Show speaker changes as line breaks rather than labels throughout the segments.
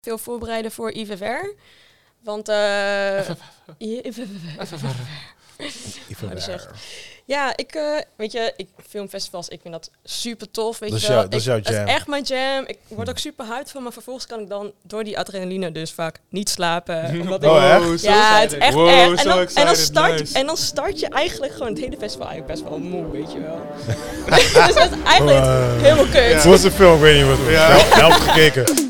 veel voorbereiden voor IVR. Want eh,
Even
dat is
waar.
ja, ik eh, weet je, ik filmfestivals, ik vind dat super tof, weet
Dat is
je wel.
jou- dat is
Ik-
jouw
Dat
jam. Hm.
is echt mijn jam. Ik word ook super hyped van, maar vervolgens kan ik dan door die adrenaline dus vaak niet slapen. omdat ik-
Oh, echt?
Wow, zo
ja, het is
excited.
echt
Wow,
erg. En
zo
dan, en, dan
excited,
start,
nice.
en dan start je eigenlijk gewoon het hele festival eigenlijk best wel moe, weet je wel. dus dat is eigenlijk
Wow.
helemaal kut.
Voor zijn film, ik weet niet wat. Ja. Helft gekeken.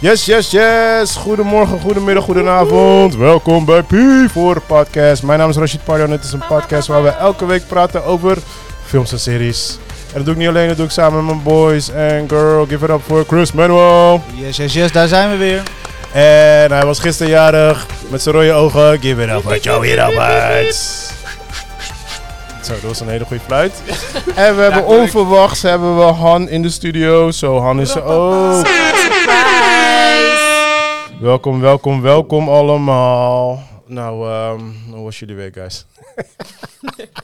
Yes, yes, yes. Goedemorgen, goedemiddag, goedenavond. Welkom bij P4 Podcast. Mijn naam is Rashid Pardo en het is een podcast waar we elke week praten over films en series. En dat doe ik niet alleen, dat doe ik samen met mijn boys en girl. Give it up voor Chris Manuel.
Yes, yes, yes, daar zijn we weer.
En hij was gisteren jarig met zijn rode ogen. Give it up, wat jou hier op Zo, dat was een hele goede fluit. En we hebben
kon ik.
onverwachts hebben we Han in de studio. Zo, Han is er ook. Welkom, welkom, welkom allemaal. Nou, ehm, hoe was jullie week, guys?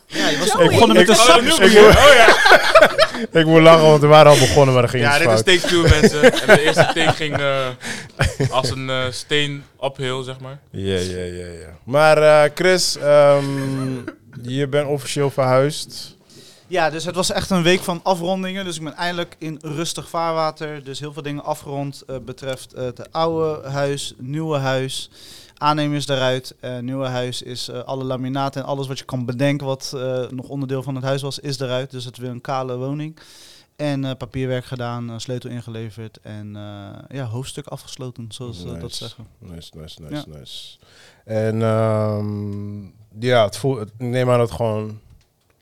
Ja, je was
Joey.
begonnen met een
Ik-
sapje.
ik- Ik moet lachen, want we waren al begonnen, maar er ging
Ja,
iets
dit is
fout.
take 2 mensen. En de eerste take ging eh, als een eh, steen uphill, zeg maar.
Ja, ja, ja, ja. Maar eh, Chris, ehm, je bent officieel verhuisd.
Ja, dus het was echt een week van afrondingen. Dus ik ben eindelijk in rustig vaarwater. Dus heel veel dingen afgerond eh, betreft eh, het oude huis, nieuwe huis. Aannemers eruit. Eh nieuwe huis is eh, alle laminaten en alles wat je kan bedenken wat eh, nog onderdeel van het huis was, is eruit. Dus het is weer een kale woning. En eh, papierwerk gedaan, eh, sleutel ingeleverd en eh, ja, hoofdstuk afgesloten, zoals ze dat
Nice.
zeggen.
Nice, nice, nice, nice. En ehm, ja, het voelt, het- ik neem aan dat het gewoon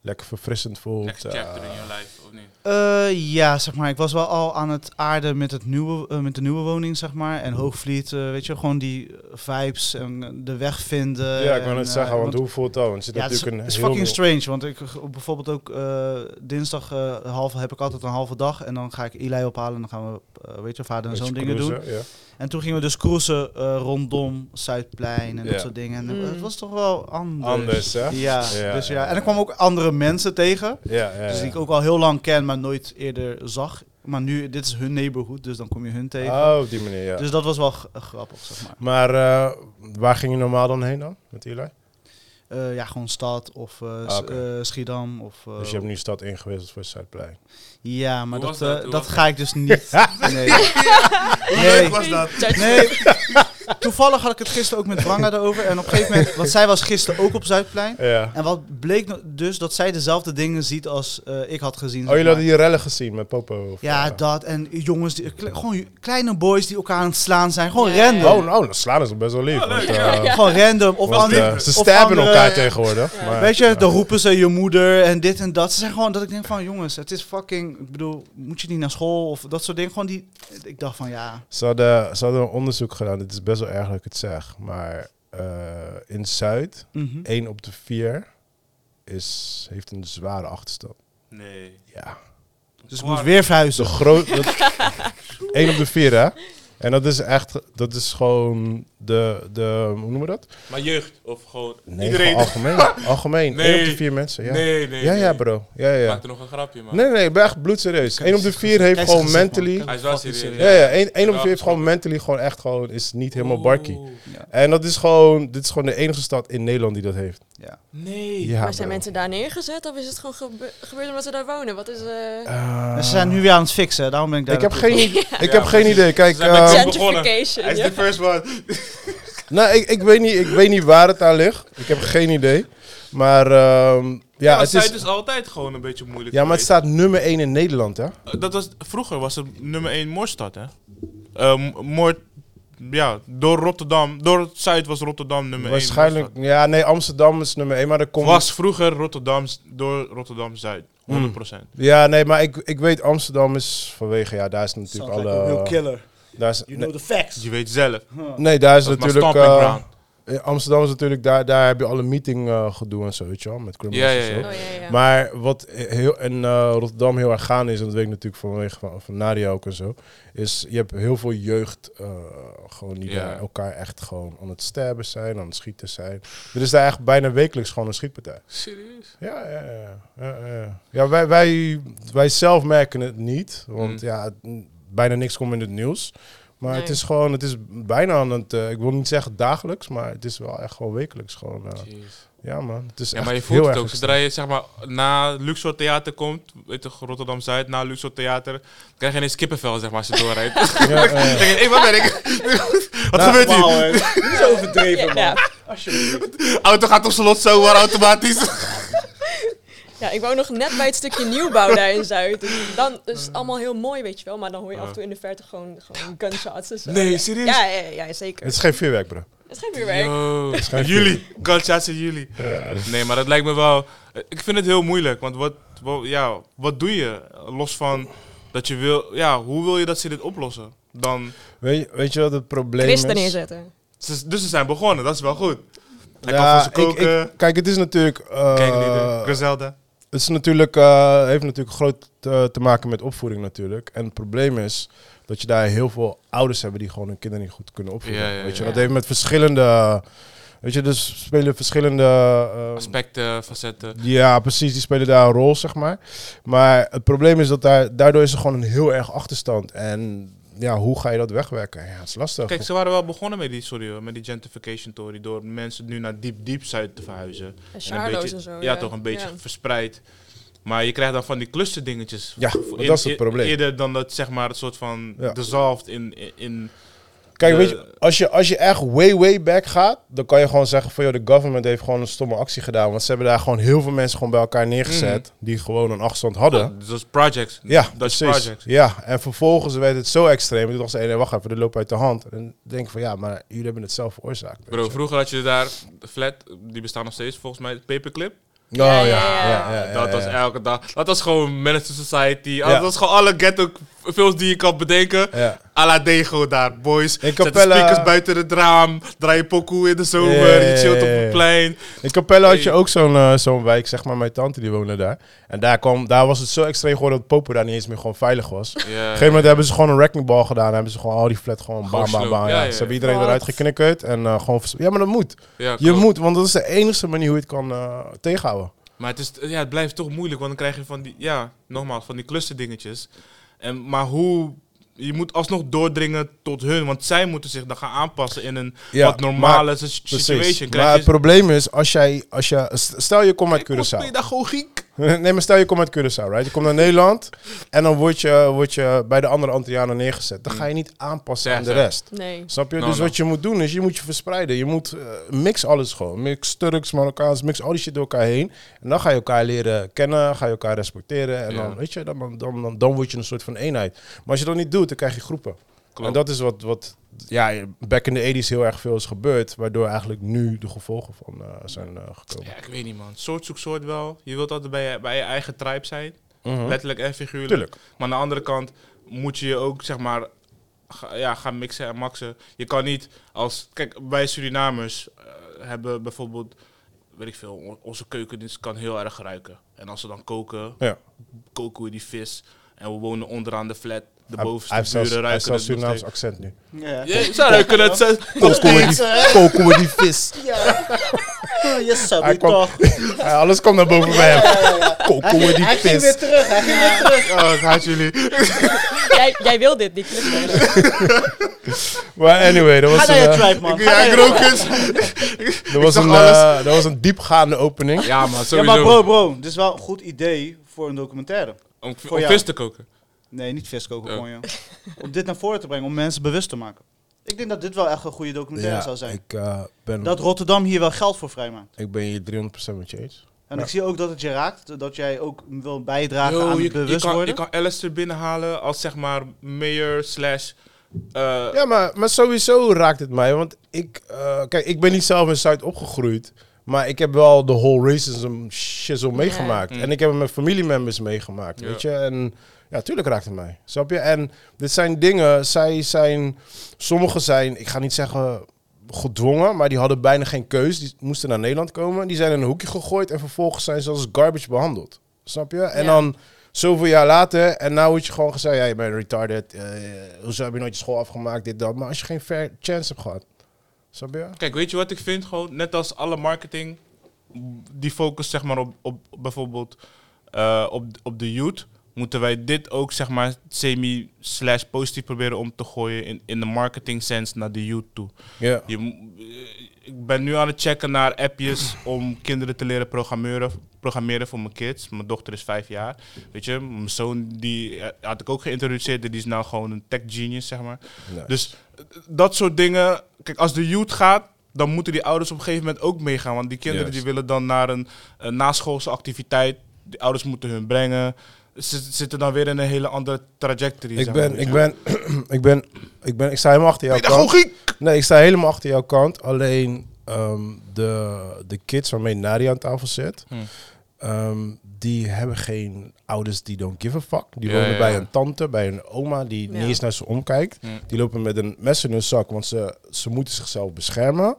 lekker verfrissend voelt.
Next chapter
eh,
in je lijf, of niet?
Eh, ja, zeg maar. Ik was wel al aan het aarden met, het nieuwe, eh, met de nieuwe woning, zeg maar.
Mhm.
En Hoogvliet, eh, weet je, gewoon die vibes en eh, de weg vinden.
ja, ik
en,
wil net
eh,
zeggen, want hoe voelt dat? Want er zit
ja, het is,
natuurlijk
het is
een heel...
fucking strange, want ik eh, bijvoorbeeld ook eh, dinsdag eh, half, heb ik altijd een halve dag. En dan ga ik Eli ophalen en dan gaan we, eh, weet je, vader en
beetje
zo'n dingen doen.
cruisen, Ja.
En toen gingen we dus cruisen eh, rondom Zuidplein en
Ja.
dat soort dingen. En
Mm.
het was toch wel anders.
Anders, hè?
Ja,
Ja,
dus
ja,
ja. En er kwamen ook andere mensen tegen.
Ja, ja,
Dus
ja.
die ik ook al heel lang ken, maar nooit eerder zag. Maar nu, dit is hun neighborhood, dus dan kom je hun tegen.
Oh, op die manier, ja.
Dus dat was wel g- grappig, zeg maar.
Maar eh, waar ging je normaal dan heen dan, met Eli?
Eh, ja, gewoon stad of eh,
Ah,
s-
oké.
eh, Schiedam. Of, eh,
Dus je hebt nu stad ingewisseld voor Zuidplein.
Ja, maar
Hoe
dat,
was dat?
eh,
Hoe
dat
was
ga ik dus niet. Nee. nee.
was dat?
Nee. Toevallig had ik het gisteren ook met Wanga erover. En op een gegeven moment, want zij was gisteren ook op Zuidplein.
Ja. Oh,
En wat bleek nou dus dat zij dezelfde dingen ziet als eh, ik had gezien.
Oh,
zeg
jullie
maar.
hadden die rellen gezien met Popo? of,
Ja,
eh?
dat. En jongens, die, kle- gewoon kleine boys die elkaar aan het slaan zijn. Gewoon
Ja.
random.
Oh, nou, dan slaan is best wel lief.
Oh,
want,
leuk,
eh,
ja,
Gewoon random. Of,
want,
andere-
eh, ze
of
stabben
andere-
elkaar tegenwoordig.
Ja.
maar-
Weet je,
Ja.
dan roepen ze je moeder en dit en dat. Ze zijn gewoon dat ik denk van jongens, het is fucking. Ik bedoel, moet je niet naar school of dat soort dingen. Gewoon die. Ik dacht van ja.
Ze hadden, ze hadden een onderzoek gedaan. Het is best wel erg dat ik het zeg. Maar eh, in Zuid,
mhm.
1 op de 4 is, heeft een zware achterstand.
Nee.
Ja.
Dus ik moest weer
De
verhuizen.
groot, dat, 1 op de 4, hè? En dat is echt, dat is gewoon de, de hoe noemen we dat?
Maar jeugd, of gewoon
Nee,
iedereen.
gewoon algemeen. Algemeen.
Nee.
1 op de 4 mensen, ja.
Nee, nee.
ja, ja,
nee.
bro. Ja, ja.
Maak er nog een grapje, man.
Nee, nee, ik ben echt bloedserieus. 1 op de 4 heeft
Kijk,
gewoon
zijn gezicht,
mentally...
man.
Hij is wel serieus.
Ja, ja. 1 op de 4 heeft
afgesproken.
gewoon mentally gewoon echt gewoon, is niet helemaal
Oeh.
barkie. En dat is gewoon, dit is gewoon de enige stad in Nederland die dat heeft.
Ja.
Nee.
Ja,
Maar zijn
bro.
mensen daar neergezet of is het gewoon gebe- gebeurd omdat ze daar wonen? Wat is... eh,
Eh,
En ze zijn nu weer aan het fixen, daarom ben ik daar.
ik heb
naartoe
geen, ik
Ja,
heb geen
precies.
idee. Kijk,
Ze zijn met
eh,
z'n- begonnen.
Gentrification. ja.
first one.
nou, ik, ik, weet niet, ik weet niet waar het aan ligt. Ik heb geen idee. Maar ehm, ja,
Ja, dus-
het
Zuid
is,
is altijd gewoon een beetje moeilijk
ja, maar het staat nummer 1 in Nederland, hè?
geweest. Dat was, vroeger was het nummer 1 moordstad, hè? Eh, m- moord, ja, door Rotterdam. Door Zuid was Rotterdam nummer 1
Waarschijnlijk, ja, nee, Amsterdam is nummer 1, maar er komt... Hmm.
Was vroeger Rotterdam s- door Rotterdam Zuid. 100%.
Ja, nee, maar ik, ik weet Amsterdam is vanwege, ja, daar is natuurlijk
Sounds
alle...
like a real killer.
daar is,
You know the facts.
Je weet zelf.
nee, daar is
Dat is mijn
natuurlijk...
stomping
eh,
ground.
eh, Amsterdam is natuurlijk, daar, daar heb je alle meeting eh, gedoe en zo, weet je wel, met criminals
Ja, ja,
en zo.
ja.
Oh, ja, ja.
Maar wat heel, en eh, Rotterdam heel erg gaande is, en dat weet ik natuurlijk vanwege van, van Nadia ook en zo, is je hebt heel veel jeugd eh, gewoon die
Ja.
daar elkaar echt gewoon aan het stabben zijn, aan het schieten zijn. Er is daar echt bijna wekelijks gewoon een schietpartij.
Serieus?
Ja, ja, ja. ja, ja. ja wij, wij, wij zelf merken het niet, want
Mm.
ja, het- bijna niks komt in het nieuws. Maar het
Nee.
is gewoon, het is bijna aan het, eh, ik wil niet zeggen dagelijks, maar het is wel echt gewoon wekelijks. Gewoon, eh,
Jeez.
ja man, het is
Ja,
echt
maar je
heel
voelt het
erg
ook. Zodra je zeg maar, na Luxor Theater komt, weet je, Rotterdam Zuid, na Luxor Theater, krijg je ineens kippenvel zeg maar, als je doorrijdt.
extreem. Ja, ja, ja.
Denk je, hey, wat ben ik? Wat
Nou,
gebeurt hier?
Niet zo overdreven, man.
Ja.
Alsjeblieft.
Auto gaat op slot zomaar automatisch.
Ja, ik woon nog net bij het stukje nieuwbouw daar in Zuid. Dus dan is het allemaal heel mooi, weet je wel. Maar dan hoor je af en toe in de verte gewoon, gewoon gunshots en zo.
Nee,
Ja.
serieus?
Ja, ja, ja, zeker.
Het
Het
is geen vuurwerk, bro.
is geen vuurwerk.
Jullie. Gunshots in jullie. Nee, maar dat lijkt me wel... Ik vind het heel moeilijk, want wat, wat- ja, wat doe je? Los van dat je wil... Ja, hoe wil je dat ze dit oplossen? Dan,
Weet je, weet je wat het probleem
Christen
is?
neerzetten.
ze- dus ze zijn begonnen, dat is wel goed. Hij kan voor
Ja,
ze
ik,
koken.
ik, kijk, het is natuurlijk. eh,
Kijk, uh, Griselda.
het is natuurlijk, eh, heeft natuurlijk groot eh, te maken met opvoeding natuurlijk. En het probleem is dat je daar heel veel ouders hebben die gewoon hun kinderen niet goed kunnen opvoeden.
Ja, ja,
weet je,
ja.
dat heeft met verschillende. Weet je, dus spelen verschillende. eh,
Aspecten, facetten.
ja, precies. Die spelen daar een rol, zeg maar. Maar het probleem is dat daar, daardoor is er gewoon een heel erg achterstand. En ja, hoe ga je dat wegwerken? Ja, het is lastig.
Kijk, ze waren wel begonnen met die, sorry, hoor, met die gentrification theory. Door mensen nu naar diep, diep zuid te verhuizen.
En
En een beetje,
en zo.
ja, toch een beetje verspreid. Maar je krijgt dan van die clusterdingetjes.
Ja,
dingetjes.
dat is het probleem.
Eerder dan dat zeg maar het soort van
Ja.
dissolved in, in, in-
Kijk,
De-
weet je, als je, als je echt way, way back gaat, dan kan je gewoon zeggen van, joh, de government heeft gewoon een stomme actie gedaan. Want ze hebben daar gewoon heel veel mensen gewoon bij elkaar neergezet,
Mm.
die gewoon een achterstand hadden.
Dus dat is projects.
Ja,
dat is
precies.
project.
Ja, en vervolgens werd het zo extreem. Toen dacht ze, hey, nee, wacht even, dit loopt uit de hand. En dan denk ik van, ja, maar jullie hebben het zelf veroorzaakt. weet
Bro,
je.
vroeger had je daar de flat, die bestaan nog steeds volgens mij, paperclip.
Oh, ja,
Ja,
ja,
ja,
ja,
ja.
ja,
dat
ja.
was elke dag. Dat was gewoon Menace to Society.
Eh. Ja.
Ah, Dat was gewoon alle ghetto films die je kan bedenken.
Ja.
A la Dego daar, boys.
In
Zet de
Capella-
speakers buiten het raam. Draai je pokoe in de
Ja,
zomer. Je chillt op
ja, ja, ja.
het plein.
In Capelle had je ook zo'n eh, zo'n wijk, zeg maar, mijn tante die woonde daar. En daar, kwam, daar was het zo extreem geworden dat Popo daar niet eens meer gewoon veilig was.
Ja.
Op een gegeven moment hebben ze gewoon een wrecking ball gedaan. Hebben ze gewoon al die flat gewoon bam,
Gewoon
bam,
slow.
bam. Ja,
Ja, ja, ja.
Ze hebben iedereen
Wat?
eruit geknikkerd. En eh, gewoon... vers- Ja, maar dat moet.
Ja,
Je
klopt.
moet, want dat is de enige manier hoe je het kan eh, tegenhouden.
Maar het, is, ja, het blijft toch moeilijk, want dan krijg je van die, ja, nogmaals, van die clusterdingetjes. En, maar hoe, je moet alsnog doordringen tot hun, want zij moeten zich dan gaan aanpassen in een
Ja,
wat normale
maar-
s-
Precies.
situation.
Maar het
Krijg je
probleem is, als jij... Als je, stel je komt uit Curaçao.
pedagogiek.
nee, maar stel je komt uit Curaçao, right? Je komt naar Nederland en dan word je, word je bij de andere Antillianen neergezet. Dan ga je niet aanpassen
Mm. Ja,
aan de
ja.
rest.
Nee.
Snap je?
No,
dus
no.
wat je moet doen is, je moet je verspreiden. Je moet eh, mix alles gewoon. Mix Turks, Marokkaans, mix al die shit door elkaar heen. En dan ga je elkaar leren kennen, ga je elkaar respecteren. En
Ja.
dan, weet je, dan, dan, dan, dan word je een soort van eenheid. Maar als je dat niet doet, dan krijg je groepen.
Klopt.
En dat is wat, wat ja, back in the 80s heel erg veel is gebeurd. Waardoor eigenlijk nu de gevolgen van eh, zijn eh, gekomen.
Ja, ik weet niet man. Soort zoekt soort wel. Je wilt altijd bij je, bij je eigen tribe zijn.
Mhm.
Letterlijk en figuurlijk.
Tuurlijk.
Maar aan de andere kant moet je je ook, zeg maar, ga- ja, gaan mixen en maxen. Je kan niet als... Kijk, wij Surinamers eh, hebben bijvoorbeeld... Weet ik veel, on- onze keukendienst kan heel erg ruiken. En als ze dan koken,
Ja.
koken we die vis. En we wonen onderaan de flat. De
Hij-
bovenste
Hij heeft zelfs,
buren
hij heeft
ruiken
zelfs
het nog
Surinaams
steeds.
accent nu.
Ja.
Ja, ze ruiken het zelfs.
Koken we die- koken we die vis.
Je
Hij
sabi
kwam-
toch.
Ja, alles kwam naar boven bij hem. Koken we die
Hij ging
vis.
weer terug. Hij ging weer terug.
Oh, ik haat jullie.
jij, jij wil dit, die clusters.
Maar anyway, dat
Ga
was
naar
een,
je
eh,
tribe, man.
Ik,
Ga
ja,
naar
ik
je
rook
tribe.
het.
dat was
zag
een,
alles.
eh, dat was een diepgaande opening.
Ja, maar
Ja,
sowieso.
maar bro, bro. Dit is wel een goed idee voor een documentaire.
om om
voor jou.
vis te koken.
Nee, niet viskoken
Oh.
gewoon, joh. Om dit naar voren te brengen, om mensen bewust te maken. Ik denk dat dit wel echt een goede documentaire zou zijn.
ik, eh, ben,
Dat Rotterdam hier wel geld voor vrijmaakt.
ik ben hier 300% met je eens.
En
Ja.
ik zie ook dat het je raakt. Dat jij ook wil bijdragen
Yo,
aan het
je, je, kan, je
bewustwording.
kan Alistair binnenhalen als zeg maar mayor slash... eh,
Ja, maar, maar sowieso raakt het mij. Want ik, eh, kijk, ik ben niet zelf in Zuid opgegroeid. Maar ik heb wel de whole racism shizzle meegemaakt.
Mm.
En ik heb het met familiemembers meegemaakt,
Ja.
weet je. En ja, tuurlijk raakt het mij. Snap je? En dit zijn dingen, zij zijn... Sommige zijn, ik ga niet zeggen gedwongen, maar die hadden bijna geen keus. Die moesten naar Nederland komen. Die zijn in een hoekje gegooid en vervolgens zijn ze als garbage behandeld. Snap je? En
Ja.
dan zoveel jaar later en nou wordt je gewoon gezegd, ja, je bent retarded. eh, hoezo heb je nooit je school afgemaakt, dit, dat. Maar als je geen fair chance hebt gehad. Snap je?
Kijk, weet je wat ik vind? Gewoon, net als alle marketing, m, die focust zeg maar op, op bijvoorbeeld eh, op, op de youth, moeten wij dit ook zeg maar semi-slash positief proberen om te gooien in, in de marketing sense naar de youth toe.
Ja.
Je, mo- eh, ik ben nu aan het checken naar appjes om kinderen te leren programmeren, programmeren voor mijn kids. Mijn dochter is vijf jaar, weet je. Mijn zoon, die eh, had ik ook geïntroduceerd, die is nou gewoon een tech genius, zeg maar.
Nice.
Dus eh, dat soort dingen. Kijk, als de youth gaat, dan moeten die ouders op een gegeven moment ook meegaan. Want die kinderen
Juist.
die willen dan naar een, een naschoolse activiteit. Die ouders moeten hun brengen. Ze ze zitten dan weer in een hele andere trajectory.
Ik
zeg
ben,
maar.
ik ben, ik ben, ik ben, ik sta helemaal achter jouw kant.
Pedagogiek!
Nee, ik sta helemaal achter jouw kant. Alleen ehm, de, de kids waarmee Nadia aan tafel zit,
Hmm.
ehm, die hebben geen ouders die don't give a fuck. Die
Ja,
wonen
ja,
bij
ja.
een tante, bij een oma die
Ja.
niet eens naar ze omkijkt.
Hmm.
Die lopen met een mes in hun zak, want ze, ze moeten zichzelf beschermen.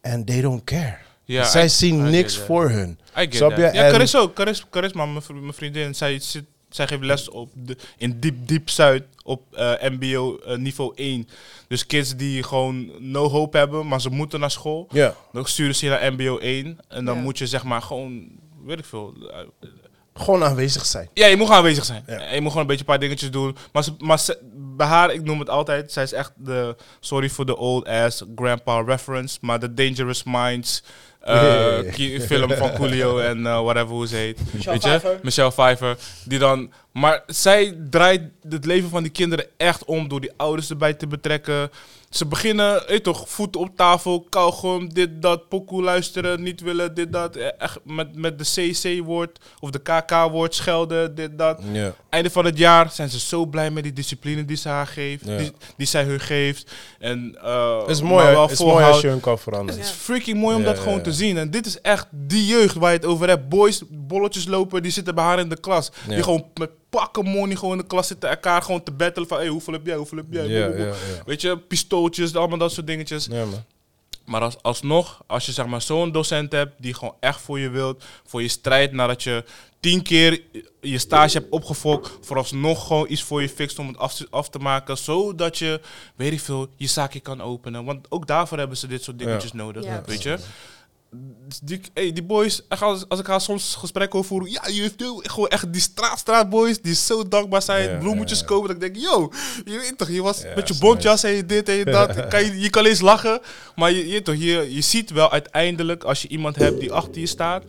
En they don't care.
Ja,
Zij
I-
zien
I
niks
get that.
voor hun.
I get
Snap
that.
je?
Ja,
En-
Caris ook. Caris, Carisma, mijn vri- mijn vriendin, zij, zit, zij geeft les op de, in diep, diep Zuid op eh, mbo eh, niveau 1. Dus kids die gewoon no hope hebben, maar ze moeten naar school.
Ja,
Dan sturen ze je naar MBO 1 en dan
Ja.
moet je zeg maar gewoon, weet ik veel. eh,
gewoon aanwezig zijn.
Ja, je moet gewoon aanwezig zijn.
Ja.
En Je moet gewoon een beetje een paar dingetjes doen. Maar, ze, maar ze- bij haar, ik noem het altijd, zij is echt de, sorry voor de old ass grandpa reference, maar de Dangerous Minds eh,
Yeah.
ki- film van Coolio en eh, whatever hoe ze heet.
Michelle
weet je?
Pfeiffer.
Michelle Pfeiffer. Die dan, maar zij draait het leven van die kinderen echt om door die ouders erbij te betrekken. Ze beginnen, weet je toch, voet op tafel, kauwgom, dit, dat, pokoe luisteren, niet willen, dit, dat. Eh, Echt met, met de CC-woord of de KK-woord schelden, dit, dat.
Ja.
Einde van het jaar zijn ze zo blij met die discipline die ze haar geeft,
Ja.
die, die zij hun geeft. En, eh,
Het is
maar
mooi, hè?
wel
Het is mooi
volhoudt.
als je hun kan
Het
veranderen.
is freaking mooi om
Ja,
dat
ja,
gewoon
ja.
te zien. En dit is echt die jeugd waar je het over hebt. Boys, bolletjes lopen, die zitten bij haar in de klas.
Ja.
Die gewoon met pakken money gewoon in de klas zitten. Elkaar gewoon te battelen van, hey, hoeveel heb jij, hoeveel heb jij?
Ja,
Boe, boe,
ja,
boe.
ja.
Weet je, pistooltjes, allemaal dat soort dingetjes.
Ja, man.
Maar als, alsnog, als je zeg maar zo'n docent hebt die gewoon echt voor je wilt, voor je strijdt nadat je tien keer je stage hebt opgefokt, vooralsnog gewoon iets voor je fixt om het af, af te maken, zodat je, weet ik veel, je zaakje kan openen. Want ook daarvoor hebben ze dit soort dingetjes nodig,
Ja,
weet je. Dus Die, hey, die boys, echt als, als ik haar soms gesprekken over voer, ja, je heeft heel- gewoon echt die straat, straatboys die zo dankbaar zijn,
Ja,
bloemetjes
ja, ja.
kopen, dat ik denk, yo, je weet toch, je was
Ja,
met je
is
bontjas en je dit en je dat. Kan je, je kan eens lachen, maar je, je, toch, je, je ziet wel uiteindelijk als je iemand hebt die achter je staat,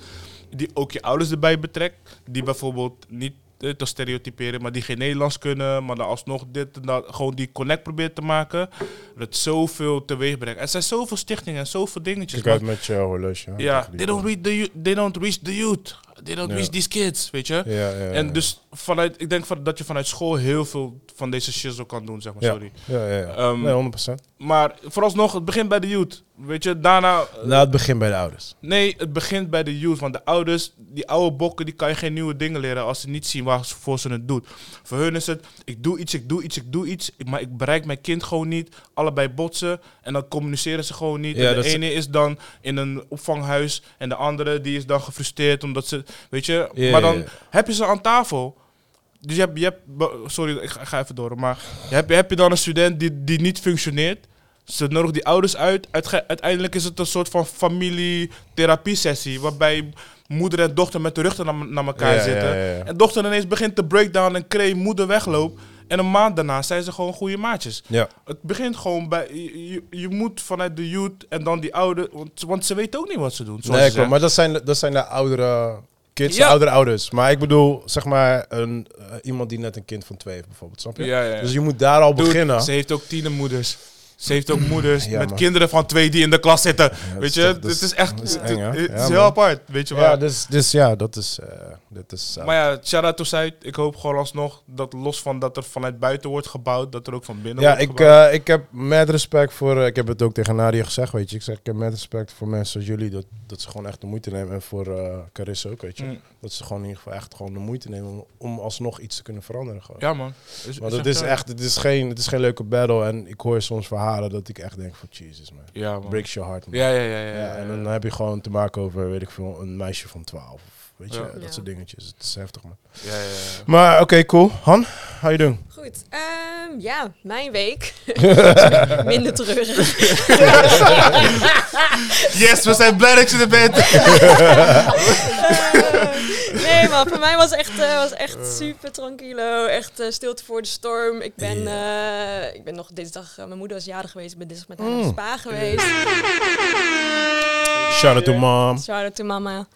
die ook je ouders erbij betrekt, die bijvoorbeeld niet eh, te stereotyperen, maar die geen Nederlands kunnen, maar dan alsnog dit en dat, gewoon die connect probeert te maken, dat zoveel teweeg brengt. Er zijn zoveel stichtingen en zoveel dingetjes.
Kijk uit
maar-
met je horloge. hè.
ja,
Tegen die
they don't,
kant.
reach the, youth- they don't reach the youth. They don't
Ja.
reach these kids, weet je.
Ja, ja, ja.
En dus vanuit, ik denk van, dat je vanuit school heel veel van deze shizzle kan doen, zeg maar.
Ja.
Sorry.
Ja, ja, ja.
Ehm,
nee, 100%.
Maar vooralsnog, het begint bij de youth. Weet je, daarna...
Na het begin bij de ouders.
Nee, het begint bij de youth. Want de ouders, die oude bokken, die kan je geen nieuwe dingen leren als ze niet zien waarvoor ze het doen. Voor hun is het, ik doe iets, ik doe iets, ik doe iets, ik- maar ik bereik mijn kind gewoon niet. Allebei botsen en dan communiceren ze gewoon niet.
Ja,
En
dat
de
is-
ene is dan in een opvanghuis en de andere die is dan gefrustreerd omdat ze, weet je.
Ja,
maar
ja,
dan
ja.
heb je ze aan tafel. Dus je hebt, je hebt be- sorry, ik ga, ik ga even door, maar je hebt, heb je dan een student die, die niet functioneert. Ze nodigen die ouders uit. Uitge- Uiteindelijk is het een soort van familie-therapie-sessie. Waarbij moeder en dochter met de rug naar, naar elkaar
Ja,
zitten.
ja, ja, ja.
En dochter ineens begint te breakdown en kree, moeder wegloopt. En een maand daarna zijn ze gewoon goede maatjes.
Ja.
Het begint gewoon bij. Je, je- je moet vanuit de youth en dan die ouders. Want, want ze weten ook niet wat ze doen. Zoals
Nee, klopt.
ze zeggen.
Maar dat zijn, dat zijn de oudere kids, de
Ja.
oudere ouders. Maar ik bedoel, zeg maar, een, eh, iemand die net een kind van twee heeft bijvoorbeeld, snap je?
Ja, ja, ja.
Dus je moet daar al
Dude,
beginnen.
Ze heeft ook tienermoeders. Ze heeft ook moeders
Ja,
met
man.
kinderen van twee die in de klas zitten.
dat
weet
is
je,
toch-
het
dat is-
is, echt.
dat is
Het
eng, hè?
het
Ja,
is heel
man.
apart, weet je
ja,
wel.
dus, dus ja, dat is... eh, dat is eh,
Maar ja, shout-out to Zuid. Ik hoop gewoon alsnog dat los van dat er vanuit buiten wordt gebouwd, dat er ook van binnen
ja,
wordt
ik,
gebouwd.
eh, ik heb met respect voor... eh, ik heb het ook tegen Nadia gezegd, weet je. Ik zeg, ik heb met respect voor mensen zoals jullie... dat, dat ze gewoon echt de moeite nemen. En voor eh Carissa ook, weet je.
Mm.
Dat ze gewoon in ieder geval echt gewoon de moeite nemen... om, om alsnog iets te kunnen veranderen gewoon.
Ja, man. Is-
Want
is
het is
zo.
echt, het is, geen, het is geen leuke battle. En ik hoor soms verhalen verhalen dat ik echt denk van, Jesus man,
Ja, man.
breaks your heart man.
Ja, ja, ja, ja,
Ja,
ja.
en dan heb je gewoon te maken over, weet ik veel, een meisje van 12. Weet je,
Ja.
dat
Ja.
soort dingetjes. Het is heftig, man.
ja, ja, ja.
Maar oké, cool. Han, how you doing?
Goed, ehm, ja, mijn week. Minder treurig.
Yes, we zijn blij dat je er bent.
Eh, nee man, voor mij was echt, eh, was echt super tranquilo. Echt eh, stilte voor de storm. Ik ben, eh, ik ben nog dinsdag, eh, mijn moeder was jarig geweest. Ik ben dinsdag met haar naar
Mm.
Spa geweest.
Shout out to mom.
Shout out to mama.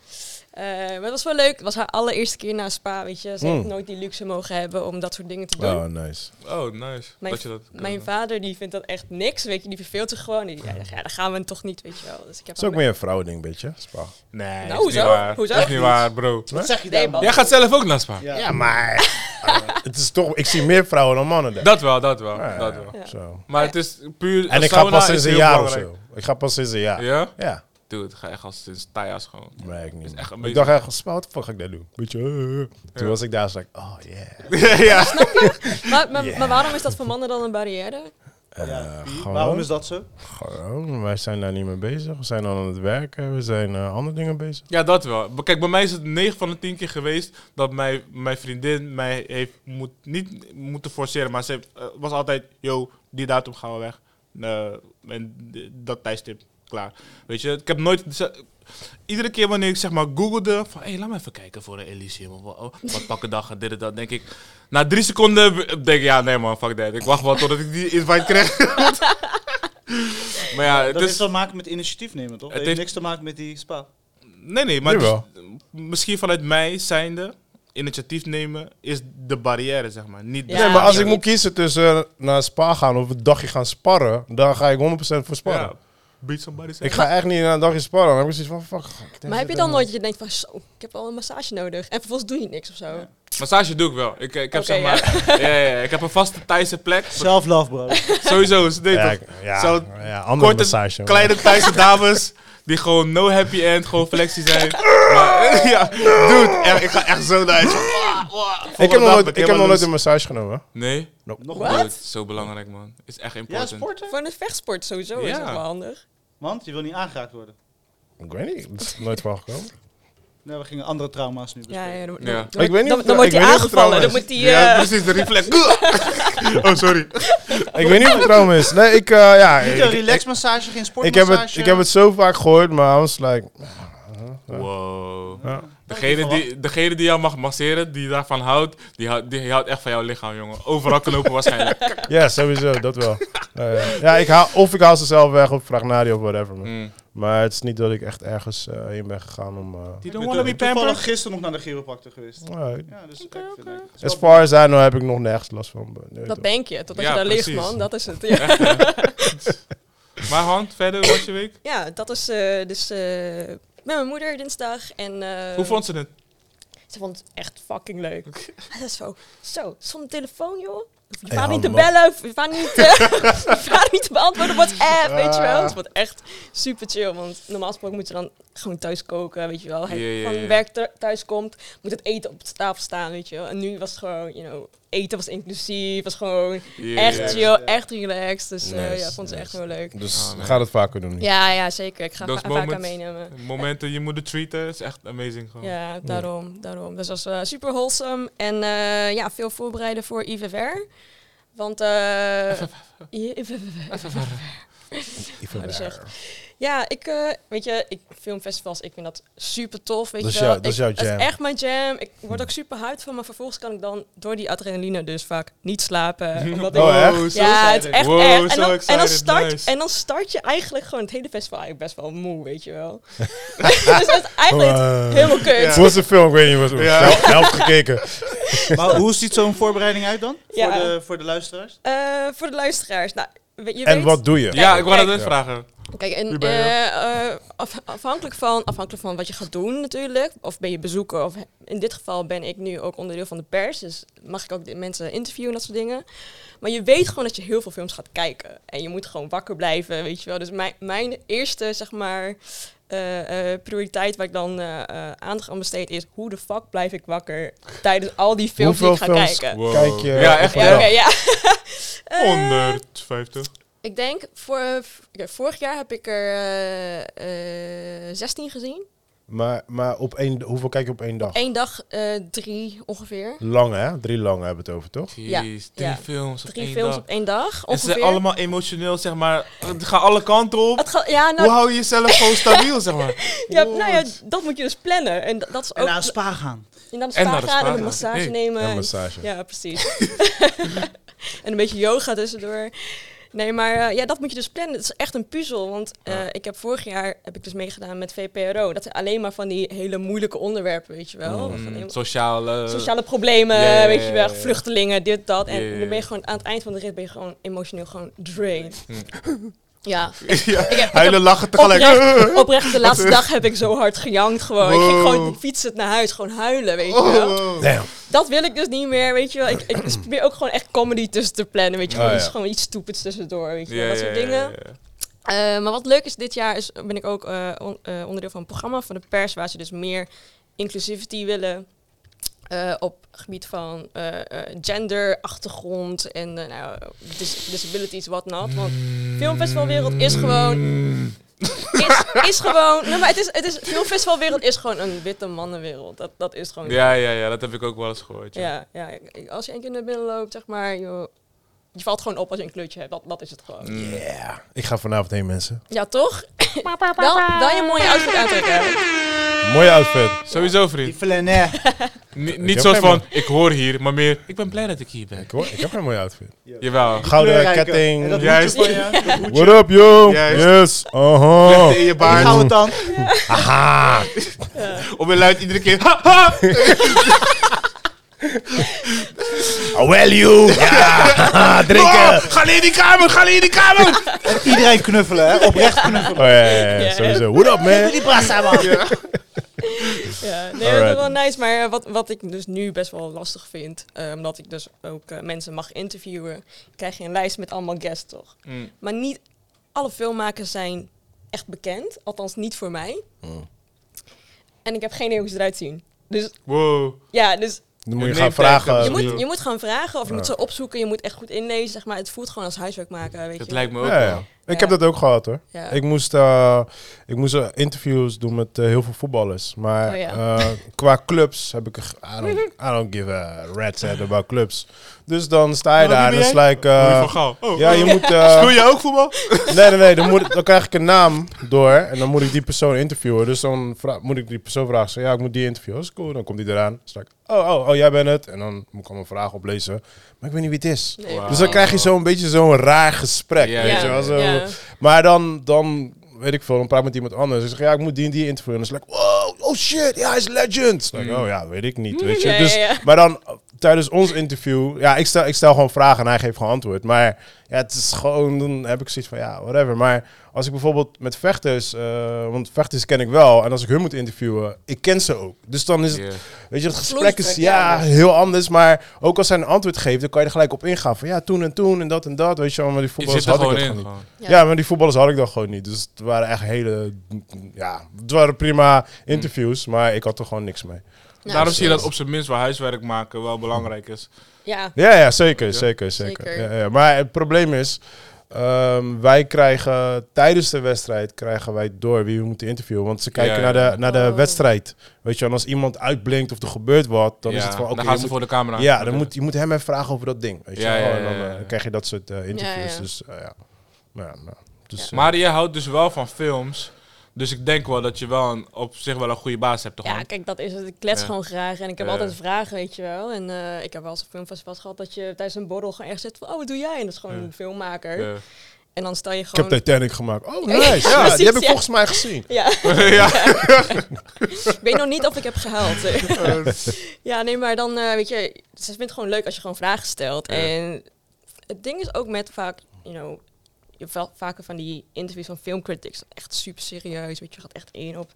Eh, maar het was wel leuk. Het was haar allereerste keer naar Spa, weet je. Ze heeft
Mm.
nooit die luxe mogen hebben om dat soort dingen te doen.
Oh, nice.
Oh, nice.
Mijn-
dat je dat
Mijn vader die vindt dat echt niks, weet je. Die verveelt zich gewoon. Die, ja, ja, dan gaan we toch niet, weet je wel. Dus ik heb
Dat is ook
haar
meer een vrouwending, beetje. Spa.
Nee,
Nou,
is
hoezo?
niet waar.
Hoezo?
Dat is niet waar, bro.
Wat zeg je
Nee,
daar,
man.
man?
Jij gaat zelf ook naar Spa.
Ja.
maar... eh, het is toch... Ik zie meer vrouwen dan mannen daar.
Dat wel, dat wel,
Ja,
dat wel.
Ja.
Zo.
Maar het is puur...
En ik ga
sauna
pas
is
sinds een
heel
jaar of
belangrijk.
zo. Ik ga pas sinds een jaar.
Ja?
Ja,
Dude, het ga echt als sinds Taya's gewoon.
merk ik niet.
echt
Ik
amazing.
dacht echt, Spa, wat de fuck ga ik daar doen? Weet je, eh, eh. Toen
Ja.
was ik daar, was ik, oh yeah.
ja.
Maar, maar,
Ja.
maar waarom is dat voor mannen dan een barrière?
Eh, gewoon-
Waarom is dat zo?
Gewoon, wij zijn daar niet mee bezig. We zijn aan het werken, we zijn eh, andere dingen bezig.
ja, dat wel. Maar Kijk, bij mij is het 9 van de 10 keer geweest dat mijn, mijn vriendin mij heeft moet, niet moeten forceren. Maar ze heeft, eh, was altijd, yo, die datum gaan we weg. Eh, en d- dat tijdstip, klaar. Weet je, ik heb nooit... ze- Iedere keer wanneer ik zeg maar googelde van, hé, hey, laat me even kijken voor een Elysium. Of, wa- oh, wat pakken dag en dit en dat, denk ik. Na drie seconden w- denk ik, ja, nee man, fuck that. Ik wacht wel totdat ik die invite krijg. maar ja, het
Dat
is...
heeft te maken met initiatief nemen, toch? Het heeft
heeft-
niks te maken met die spa.
Nee, nee, maar
Jawel.
dus, eh, misschien vanuit mij zijnde, initiatief nemen is de barrière, zeg maar. Niet de
Ja,
nee, maar als ik
absoluut.
moet kiezen tussen eh, naar spa gaan of een dagje gaan sparren, dan ga ik 100% voor sparren.
Ja, beat somebody. zeg.
Ik ga echt niet naar een dagje sparren. Dan heb ik zoiets van, fuck. ik denk
Maar heb je dan
dat helemaal-
nooit dat je denkt van, zo, ik heb al een massage nodig. En vervolgens doe je niks of zo.
Massage doe ik wel. Ik, eh, ik heb
Oké,
zeg maar, ja. Ja, ja, ik heb een vaste Thaise plek.
Self-love, bro.
Sowieso, ze deed
Ja,
toch?
ik- ja,
Zo
ja, andere
Korte,
massage. hoor.
kleine Thaise dames die gewoon no happy end, gewoon flexie zijn. maar, ja, dude, echt, ik ga echt zo naar huis. Wah, wah.
ik heb nog
Volgende dag ben
nooit, ik heb nog
helemaal
nooit een
loose.
massage genomen.
Nee,
Nog
Wat?
dude, zo belangrijk man. Is echt
Ja,
important.
sporten.
Voor een vechtsport sowieso is
Ja.
dat wel handig.
Want je wil niet aangeraakt worden.
Ik weet niet, het is nooit van gekomen.
Nee, we gingen andere trauma's nu
Ja,
bespreken.
ja, dan,
Ja.
dan-
Ik weet niet
dan,
of-
dan
ik
wordt hij
weet niet of het
aangevallen. Dan moet
trouwens-
hij...
Ja,
eh,
dus-
precies, de reflex. oh, sorry.
ik weet niet of het trauma is. Nee, ik, eh, ja,
Niet een
ik,
relaxmassage, geen
ik, heb
sportmassage.
het, ik heb het zo vaak gehoord, maar I was like...
Wow.
Ja.
Degene, die, degene die jou mag masseren, die daarvan houdt, die, houdt- die houdt echt van jouw lichaam, jongen. Overal knopen waarschijnlijk.
Ja, sowieso, dat wel. Nou ja. ja, ik haal, of ik haal ze zelf weg of vraag naar die of whatever. man.
Mm.
Maar het is niet dat ik echt ergens eh, heen ben gegaan om... eh,
Die
Ik ben
don't wanna be
to- toevallig
pampered.
gisteren nog naar de chiropractor geweest.
nou,
Ja, dus kijk, ik vind het- het is
As
wel-
far as I know heb ik nog nergens last van. maar nee,
dat
toch.
denk je, totdat
Ja,
je daar ligt,
precies.
man. Dat is het. Ja,
Maar Han, verder, hoe was je week?
Ja, dat is eh, dus eh, met mijn moeder dinsdag. En, eh,
Hoe vond ze het?
Ze vond het echt fucking leuk. En dat is zo, zo, zonder telefoon, joh. Hoef Je
Hey,
vader niet te
man.
bellen, hoef je vader niet, eh, je vader niet te beantwoorden, WhatsApp, weet je wel.
Ah.
Dus wat echt super chill, want normaal gesproken moet je dan gewoon thuis koken, weet je wel. Hij
Ja, ja,
van
ja.
werk thu- thuis komt, moet het eten op de tafel staan, weet je wel. En nu was het gewoon, you know, eten was inclusief, was gewoon echt chill, echt relaxed. Dus eh,
Nice,
ja, vond ze echt
nice.
heel leuk.
Dus
Ah,
we
nee.
gaan het vaker doen. nu.
Ja, ja, zeker. Ik ga
Dat
va-
is
vaak aan
moment.
meenemen.
Momenten je moeder treaten, is echt amazing gewoon.
Ja, daarom, daarom. Dus dat was eh, super wholesome. En eh, ja, veel voorbereiden voor IVR. Want eh, IVVR.
Even
Oh, dat is
daar.
echt- ja, ik eh, weet je, ik filmfestivals, ik vind dat super tof, weet
Dat is
je wel.
jou- dat is
Ik-
jouw
Dat
jam. Hm.
is echt mijn jam. Ik word ook super hyped van, maar vervolgens kan ik dan door die adrenaline dus vaak niet slapen, omdat ik
Oh, echt?
Wow, zo
ja, het is
excited.
echt
Wow,
erg.
zo
En dan, en, dan
excited,
start,
nice.
en dan start je eigenlijk gewoon het hele festival eigenlijk best wel moe, weet je wel. dus dat is eigenlijk
Wow.
helemaal kut.
Het was een film, ik weet niet wat. Helft, helft gekeken.
Maar hoe ziet zo'n voorbereiding uit dan?
Ja.
Voor, de, voor de luisteraars?
Eh, voor de luisteraars. Nou, we- je
En
weet,
wat doe je?
Ja, ik wou dat
Kijk.
net vragen.
Kijk, en,
Wie ben je?
eh, eh, af- afhankelijk, van, afhankelijk van wat je gaat doen natuurlijk. Of ben je bezoeker. Of in dit geval ben ik nu ook onderdeel van de pers. Dus mag ik ook de mensen interviewen en dat soort dingen. Maar je weet gewoon dat je heel veel films gaat kijken. En je moet gewoon wakker blijven, weet je wel. Dus mijn, mijn eerste, zeg maar... eh, eh, prioriteit waar ik dan eh, eh, aandacht aan besteed is hoe de fuck blijf ik wakker tijdens al die films die ik ga
Hoeveel films
kijken.
Kijk je
Ja, echt.
op een
Ja,
dag?
oké, ja. Eh,
150.
Ik denk, voor, oké, vorig jaar heb ik er eh, eh, 16 gezien.
Maar, maar op één, hoeveel kijk je op één dag?
Eén dag eh, drie ongeveer.
Lang hè? Drie lange hebben we het over, toch?
Ja,
Jeez, drie
ja.
films op
Drie
één
films
dag.
op één dag
En ze zijn
ongeveer.
allemaal emotioneel, zeg maar. Het gaat alle kanten op.
Het gaat- ja, nou,
Hoe hou je jezelf gewoon stabiel, zeg maar?
ja, nou ja, dat moet je dus plannen. En dat, dat is
En
ook...
naar een spa gaan.
En dan
En
spa
naar de
gaan
spa
en een
gaan.
massage
Hey.
nemen.
En massage.
Eh, Ja, precies. en een beetje yoga tussendoor. Nee, maar eh, ja, dat moet je dus plannen. Het is echt een puzzel. Want eh, ik heb vorig jaar heb ik dus meegedaan met VPRO. Dat zijn alleen maar van die hele moeilijke onderwerpen, weet je wel. Van
Mm,
heel-
sociale...
sociale problemen,
ja, ja,
weet je wel,
ja, ja.
vluchtelingen, dit, dat. En
Ja, ja, ja.
dan ben je gewoon aan het eind van de rit ben je gewoon emotioneel gewoon drained.
Hm.
Ja,
ja,
ik heb-
huilen, lachen tegelijk.
oprecht, oprecht, de laatste dag heb ik zo hard gejankt gewoon. Ik ging
Wow.
gewoon fietsend naar huis, gewoon huilen, weet je wel.
Oh.
Damn.
Dat wil ik dus niet meer, weet je wel. Ik, ik dus probeer ook gewoon echt comedy tussen te plannen, weet je wel.
Oh,
Dus
ja.
gewoon iets stupids tussendoor, weet je wel.
Ja,
dat
ja,
soort
ja,
dingen.
ja, ja.
Eh, maar wat leuk is, dit jaar is, ben ik ook eh, on- eh, onderdeel van een programma van de pers... waar ze dus meer inclusivity willen eh, op gebied van eh, eh, gender, achtergrond en eh, nou, dis- disabilities, wat not. Want filmfestivalwereld is gewoon...
Mm.
Is, is gewoon... Nee, maar het is, het is, filmfestivalwereld is gewoon een witte mannenwereld. Dat, dat is gewoon
Ja, ja, ja, dat heb ik ook wel eens gehoord. Ja.
ja, ja, ik- ik- als je één keer naar binnen loopt, zeg maar, joh, je valt gewoon op als je een kleurtje hebt. Dat, dat is het gewoon.
Yeah. Ik ga vanavond heen, mensen.
Ja, toch? wel, wel je mooie outfit aantrekken.
Mooie outfit.
Sowieso,
Die
vriend.
flaneur.
Ni-
heb
niet zoals
geen
van, ik hoor hier, maar meer, ik ben blij dat ik hier ben.
Ik, hoor, ik heb een mooie outfit.
Jawel.
Gouden
Kleurrijke.
ketting.
En dat
Juist.
hoedje van je. dat hoedje.
What up, yo?
Juist.
Yes. Aha.
in je
Waar gaan we het dan?
Aha.
Of je luidt iedere keer, ha, ha.
Ah, Well, you. Ja.
Oh,
Drinken.
ga niet in die kamer, ga niet in die kamer.
Iedereen knuffelen, hè? Oprecht knuffelen.
Oh, ja, ja, ja.
Ja.
Sowieso. What up, man?
Die brasa, man.
Ja, nee, dat
Alright.
is wel nice. Maar eh, wat, wat ik dus nu best wel lastig vind, eh, omdat ik dus ook eh, mensen mag interviewen, krijg je een lijst met allemaal guests, toch?
Mm.
Maar niet alle filmmakers zijn echt bekend. Althans, niet voor mij. En ik heb geen idee hoe ze eruit zien. Dus
Wow.
ja, dus
Dan moet je
Neem
gaan
tijd,
vragen.
dat
Je
is
wie-
moet, je moet gaan vragen of je moet ze opzoeken. Je moet echt goed inlezen. Zeg maar. Het voelt gewoon als huiswerk maken. Weet
Dat
je.
lijkt me ook
Ja, ja.
wel.
Ik heb dat ook gehad hoor.
Ja.
Ik moest, eh, ik moest eh, interviews doen met eh, heel veel voetballers. Maar
Oh, ja.
eh, qua clubs heb ik... er ge- I don't, I don't give a rat's head about clubs. Dus dan sta je
Oh, wie
daar en
ben
dan is like... eh,
Hoe je van Gaal. Oh.
ja, je moet... eh,
Speel je ook voetbal?
nee, nee, nee. Dan, moet, ik- dan krijg ik een naam door en dan moet ik die persoon interviewen. Dus dan vra- moet ik die persoon vragen. Zeg, ja, ik moet die interviewen. Dat is cool. Dan komt die eraan. Dan sta ik, oh, oh, oh, jij bent het. En dan moet ik allemaal vragen oplezen. Maar ik weet niet wie het is.
Nee,
Dus dan krijg je zo'n beetje zo'n raar gesprek.
Ja,
weet je
ja,
wel, zo.
ja.
Maar dan, dan, weet ik veel, dan praat ik met iemand anders. Ik zeg, ja, ik moet die en die interviewen. En dan is het like, wow, oh shit, ja, hij is legend. Dan
Mm.
denk ik, oh ja, weet ik niet, weet je.
Mm, Ja, ja,
dus,
ja.
Maar dan, uh, tijdens ons interview, ja, ik stel, ik stel gewoon vragen en hij geeft gewoon antwoord. Maar ja, het is gewoon, dan heb ik zoiets van, ja, whatever. Maar als ik bijvoorbeeld met vechters, eh, want vechters ken ik wel. En als ik hun moet interviewen, ik ken ze ook. Dus dan is het,
Ja.
weet je, het gesprek is
Vloeistrek,
ja,
ja.
heel anders. Maar ook als hij een antwoord geeft, dan kan je er gelijk op ingaan. Van ja, toen en toen en dat en dat, weet je wel. Maar die
Je
voetballers
zit er
had ik dat
gewoon
gewoon
in.
niet.
gewoon.
Ja.
Ja. maar die voetballers had ik dan gewoon niet. Dus het waren echt hele... Ja, het waren prima interviews,
Mm.
maar ik had er gewoon niks mee.
Nou,
Daarom zie je dat op zijn minst wel huiswerk maken wel belangrijk is.
Ja,
Ja, ja zeker,
Ja.
zeker, zeker.
Zeker.
Ja, ja. Maar het probleem is... ehm, wij krijgen tijdens de wedstrijd krijgen wij door wie we moeten interviewen. Want ze kijken
Ja,
naar
ja.
de, naar de
Oh.
wedstrijd. Weet je, wel, en als iemand uitblinkt of er gebeurt wat, dan is
Ja,
het van... oké,
dan
je
gaat ze
moet-
voor de camera.
ja, dan moet, je moet hem even vragen over dat ding. Weet je,
Ja,
wel.
ja,
en dan
ja, ja.
eh, krijg je dat soort eh, interviews.
ja.
Dus eh, ja. Nou, ja, nou, dus, eh,
Maar je houdt dus wel van films. Dus ik denk wel dat je wel een, op zich wel een goede baas hebt. Toch?
ja,
man?
kijk, dat is het. Ik klets
Ja.
gewoon graag en ik heb
Ja.
altijd vragen, weet je wel. En eh, ik heb wel eens op filmfestivals gehad dat je tijdens een borrel gewoon echt zit van... Oh, wat doe jij? En dat is gewoon
Ja.
een filmmaker.
Ja.
En dan stel je
ik heb
gewoon...
Titanic gemaakt. Oh,
Ja,
nice. Ja, die
precies,
heb ik
ja.
volgens mij gezien.
Ja.
ja.
ik weet nog niet of ik heb gehuild. ja, nee, maar dan eh, weet je, ze vindt het gewoon leuk als je gewoon vragen stelt.
Ja.
En het ding is ook met vaak, you know, je hebt wel vaker van die interviews van filmcritics, echt super serieus, weet je, je gaat echt in op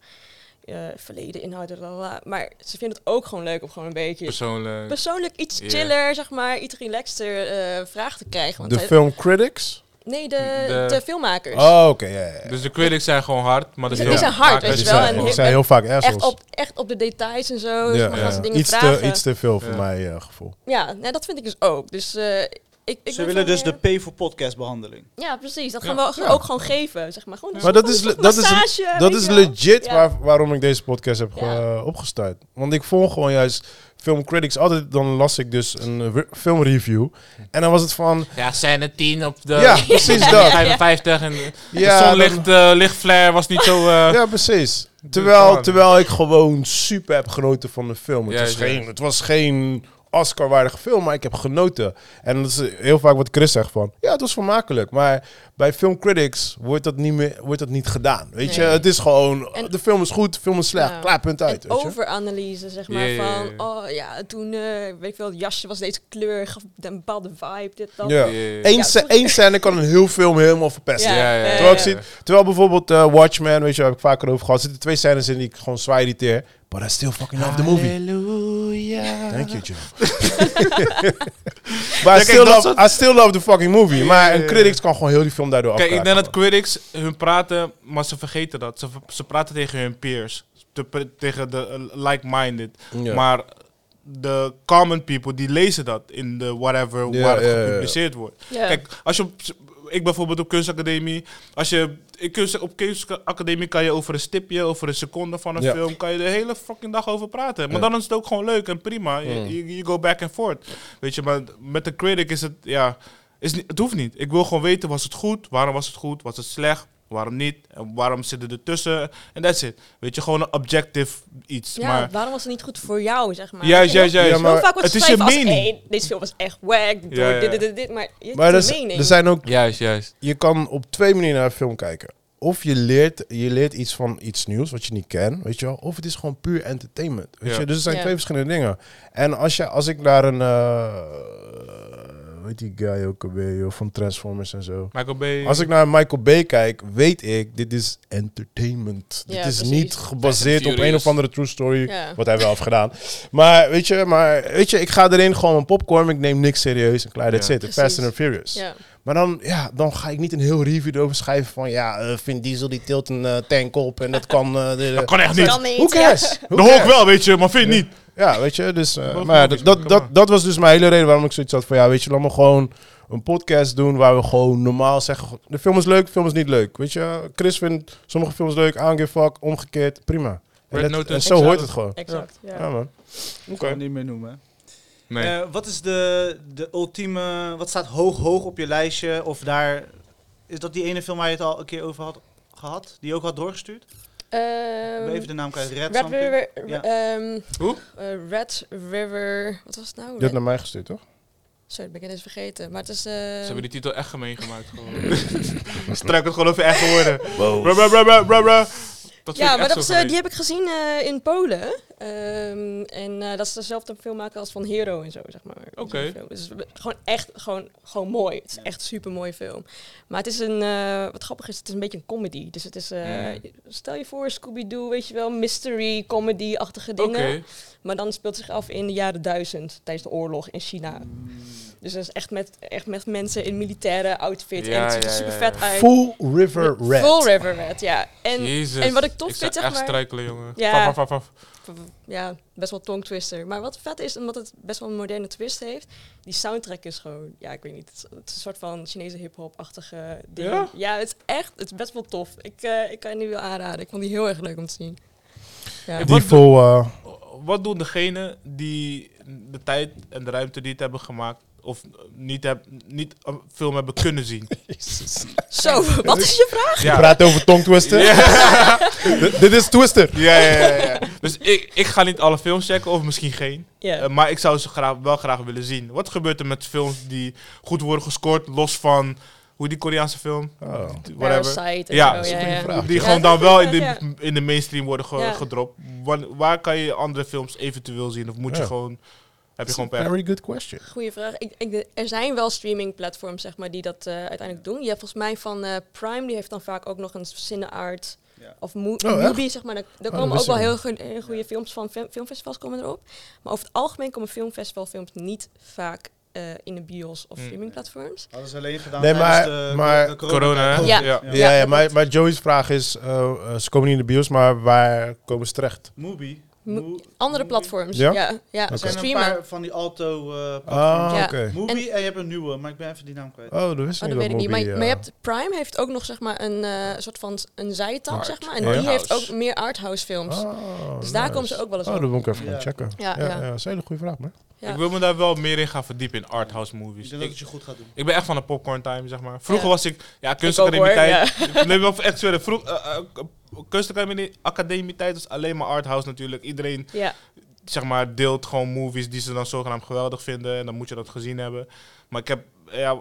eh, verleden inhoud, lalala. maar ze vindt het ook gewoon leuk om gewoon een beetje
Persoonlijk.
persoonlijk iets
Eh, Ja.
chiller, zeg maar, iets relaxter eh vragen te krijgen. Want
De
zij-
film Critics?
nee, de,
De-
de, filmmakers.
Oh, oké. ja, ja, ja.
Dus de critics zijn gewoon hard. Maar de
Die
filmmakers
zijn hard, weet
Die
je wel,
zijn,
en
die
heel-
zijn heel vaak assholes.
Echt op, echt op de details en zo. zeg maar, gaan ze dingen
Iets,
vragen.
te, iets te veel voor
Ja.
mijn eh, gevoel.
Ja, nou, dat vind ik dus ook. Dus eh, ik, ik
Ze
ben
willen
van
dus
meer-
de P voor podcast behandeling.
Ja, precies. Dat
Ja.
gaan we ook-
Ja.
ook gewoon geven, zeg maar. Gewoon een
Maar dat is,
soort
le- dat is,
massage,
dat
weet
is
je wel.
legit
Ja.
waar- waarom ik deze podcast heb
Ja.
eh, opgestart. Want ik volg gewoon juist filmcritics. Altijd dan las ik dus een eh, re- filmreview. En dan was het van...
Ja, scène 10 op de
Ja, precies dat.
55 en de
Ja, dan-
zonlicht, eh, lichtflare was niet zo... eh,
ja precies.
Doe
Terwijl,
het
terwijl ik gewoon super heb genoten van de film. Het,
Juist,
is geen,
ja.
het was geen Oscar-waardige film, maar ik heb genoten. En dat is heel vaak wat Chris zegt van... Ja, het was vermakelijk. Maar bij filmcritics wordt dat niet, meer, wordt dat niet gedaan. Weet je,
Nee.
het is gewoon...
En-
de film is goed, de film is slecht.
Ja.
Klaar, punt uit.
En
weet je?
overanalyse, zeg maar.
Ja, ja, ja, ja.
Van, oh ja, toen, eh, weet ik veel, het jasje was deze kleur, gaf een bepaalde vibe, dit, dat.
Ja.
eh,
Eén, sce- één scène kan een heel film helemaal verpesten.
Ja,
ja, ja,
eh,
Terwijl, ik
ja.
zie, terwijl bijvoorbeeld eh, Watchmen, weet je, daar heb ik vaker over gehad. Er zitten twee scènes in die ik gewoon zwaar irriteer. But I still fucking love the
Ah,
movie.
Halleluja.
Thank you, Jim. But I still,
dat
love, I still love the fucking movie. Maar een critics kan gewoon heel die film daardoor
Kijk, ik
afkraken.
denk dat critics hun praten, maar ze vergeten dat. Ze, ze praten tegen hun peers. Te pr- tegen de eh, like-minded.
Ja.
Maar de common people, die lezen dat in de whatever
Ja,
waar het
ja, ja, ja.
gepubliceerd wordt.
Ja.
Kijk, als je op, ik bijvoorbeeld op kunstacademie, als je in kunst, op kunstacademie kan je over een stipje, over een seconde van een
Ja.
film, kan je de hele fucking dag over praten. Maar
Ja.
dan is het ook gewoon leuk en prima. Je
Mm.
je- je go back and forth. Weet je, maar met de critic is het, ja, is niet, het hoeft niet. Ik wil gewoon weten, was het goed? Waarom was het goed? Was het slecht? Waarom niet? En waarom zitten er tussen? En that's it. Weet je, gewoon een objective iets.
Ja,
maar
waarom was het niet goed voor jou, zeg maar? Weet
juist, juist,
je,
juist.
Ja,
heel
maar
vaak wordt
het is
geschreven
je
als,
mening.
hey, deze film was echt wack, door
Ja, ja.
dit, dit, dit, dit, maar je
Maar
hebt
er,
een
z-
mening.
er zijn ook,
Juist, juist.
je kan op twee manieren naar een film kijken. Of je leert, je leert iets van iets nieuws wat je niet kent, weet je wel. Of het is gewoon puur entertainment, weet
Ja.
je. Dus er zijn
Ja.
twee verschillende dingen. En als, je, als ik naar een... eh, weet die guy ook alweer, joh, van Transformers en zo.
Michael B.
Als ik naar Michael Bay kijk, weet ik, dit is entertainment.
Ja,
dit is
precies.
niet gebaseerd op
Fast and
een
Furious.
of andere true story,
Ja.
wat hij wel heeft gedaan. Maar weet, je, maar weet je, ik ga erin gewoon mijn popcorn, ik neem niks serieus en klaar, that's
Ja.
it.
Precies.
Fast and Furious.
Ja.
Maar dan, ja, dan ga ik niet een heel review erover schrijven van, ja, eh Vin Diesel die tilt een eh, tank op en dat kan... eh, de- de-
dat kan echt niet.
Kan niet,
Who
ja.
cares? Who
De Hulk
cares?
wel, weet je, maar vind niet.
Ja, weet je, dus... eh,
Boven
maar ja,
niks,
dat, dat,
kom
dat,
maar.
dat was dus mijn hele reden waarom ik zoiets had van... Ja, weet je, laat me gewoon een podcast doen waar we gewoon normaal zeggen... goh, De film is leuk, de film is niet leuk. Weet je, Chris vindt sommige films leuk, I don't give a fuck, omgekeerd, prima.
Red
En, dat-
Notice.
en zo
Exact.
hoort het gewoon.
Exact, ja.
Ja, man.
Dat kan ik niet meer noemen.
Nee.
Eh, wat is de, de ultieme... Wat staat hoog, hoog op je lijstje? Of daar... Is dat die ene film waar je het al een keer over had gehad? Die je ook had doorgestuurd? Ik ben
Ehm,
even de naam kwijt. Red,
Red
something?
River...
Ja.
ehm,
Hoe?
eh, Red River... Wat was het nou?
Je hebt naar mij gestuurd, toch?
Sorry, dat ben ik eens vergeten. Maar het is... eh,
Ze hebben die titel echt gemeen gemaakt. gewoon. Struik het gewoon over echt geworden. Bra, bra, bra, bra, bra, bra. Dat vind
ja,
ik
maar
echt
dat is,
zo
eh,
gemeen.
die heb ik gezien eh, in Polen. Ehm, en eh, dat is dezelfde filmmaker als van Hero en zo, zeg maar.
Oké.
Zo'n film. Dus we- gewoon echt gewoon, gewoon mooi. Het is echt super mooi film. Maar het is een, eh, wat grappig is, het is een beetje een comedy. Dus het is, eh,
Mm.
stel je voor, Scooby-Doo, weet je wel, mystery, comedy-achtige
Oké.
dingen. Maar dan speelt het zich af in de jaren duizend, tijdens de oorlog in China.
Hmm.
Dus dat is echt met, echt met mensen in militaire outfit. en
Ja,
het ziet er
ja,
super
ja,
vet
ja.
uit.
Full River Red.
Full River Red, ja. En
Jezus.
en wat ik tof
ik
vind,
zou
zeg
echt
maar-
struikelen, jongen.
Ja.
Vaf, vaf, vaf, vaf.
ja, best wel tong twister. Maar wat vet is, omdat het best wel een moderne twist heeft, die soundtrack is gewoon, ja, ik weet niet, het is, het is een soort van Chinese hip-hop-achtige ding.
Ja?
Ja? het is echt, het is best wel tof. Ik, eh, ik kan je nu wel aanraden. Ik vond die heel erg leuk om te zien. Ja.
Ik
Die
Wat de-
full... eh,
Wat doen degenen die de tijd en de ruimte niet hebben gemaakt... of niet, heb, niet een film hebben kunnen zien?
Zo, wat is je vraag?
Je
ja.
praat over tong twister. D- Dit is twister.
Ja, ja, ja, ja. Dus ik, ik ga niet alle films checken, of misschien geen. Eh,
Ja.
maar ik zou ze graag, wel graag willen zien. Wat gebeurt er met films die goed worden gescoord, los van hoe die Koreaanse film,
Oh.
whatever.
Parasite en
Ja,
zo,
dat is
een goede vraag.
Die
Oh, Ja,
gewoon
dat is
dan wel
een
in de,
goeie,
in de mainstream worden ge-
Ja.
gedropt. Wan- waar kan je andere films eventueel zien? Of moet
Ja.
je gewoon, heb je gewoon per...
Very good question.
Goeie vraag. Ik, ik, er zijn wel streaming platforms zeg maar, die dat eh, uiteindelijk doen. Je hebt volgens mij van eh, Prime, die heeft dan vaak ook nog een CineArt
Ja.
of Mo
Oh, echt? Oh,
Movie, zeg maar. Daar, daar
dat
komen
wist
ook wel
ik
heel goe- heel goede films van. Film- filmfestivals komen erop. Maar over het algemeen komen filmfestivalfilms niet vaak eh, in de bios of
Mm.
Hmm.
streaming platforms.
Hadden ze alleen gedaan
Nee,
tijdens
maar-
de,
maar-
de
Corona, hè?
Ja.
ja.
Ja.
Ja, ja,
dat
maar,
klopt.
oh, maar Joey's vraag is, eh, eh, ze komen niet in de bios, maar waar komen ze terecht?
Mubi.
Mo-
Mo-
Andere
Movie.
platforms.
Ja?
Ja, ja.
Oké.
Mm. Er zijn een
Streamen.
paar van die alto eh
Ah,
Oh, Ja.
oké.
movie en, je hebt een nieuwe, maar ik ben even die naam kwijt.
Oh, dat wist
Oh,
ik
dat
niet.
weet ik niet. Maar,
Mobi,
je-
eh,
maar je hebt Prime heeft ook nog zeg maar een eh, soort van s- een zijtak,
Art.
zeg maar. En die
Arthouse.
heeft ook meer arthouse films.
oh,
dus daar
nice.
komen ze ook wel eens
Oh,
op.
dat moet ik even gaan
Ja.
checken. Ja,
Ja,
ja.
ja.
dat is een hele goede vraag, man.
Ja.
Ik wil me daar wel meer in gaan verdiepen in arthouse
Ik
dus
movies.
denk dat
Ik,
het je goed gaat doen.
ik ben echt van de popcorn time, zeg maar. Vroeger
Ja.
was ik, ja,
ook,
kunstacademie
hoor,
tijd. Nee, wel echt serieus. Vroeg, eh, eh, kunstacademie academie tijd was alleen maar arthouse natuurlijk. Iedereen
Ja.
zeg maar, deelt gewoon movies die ze dan zogenaamd geweldig vinden. En dan moet je dat gezien hebben. Maar ik heb, ja,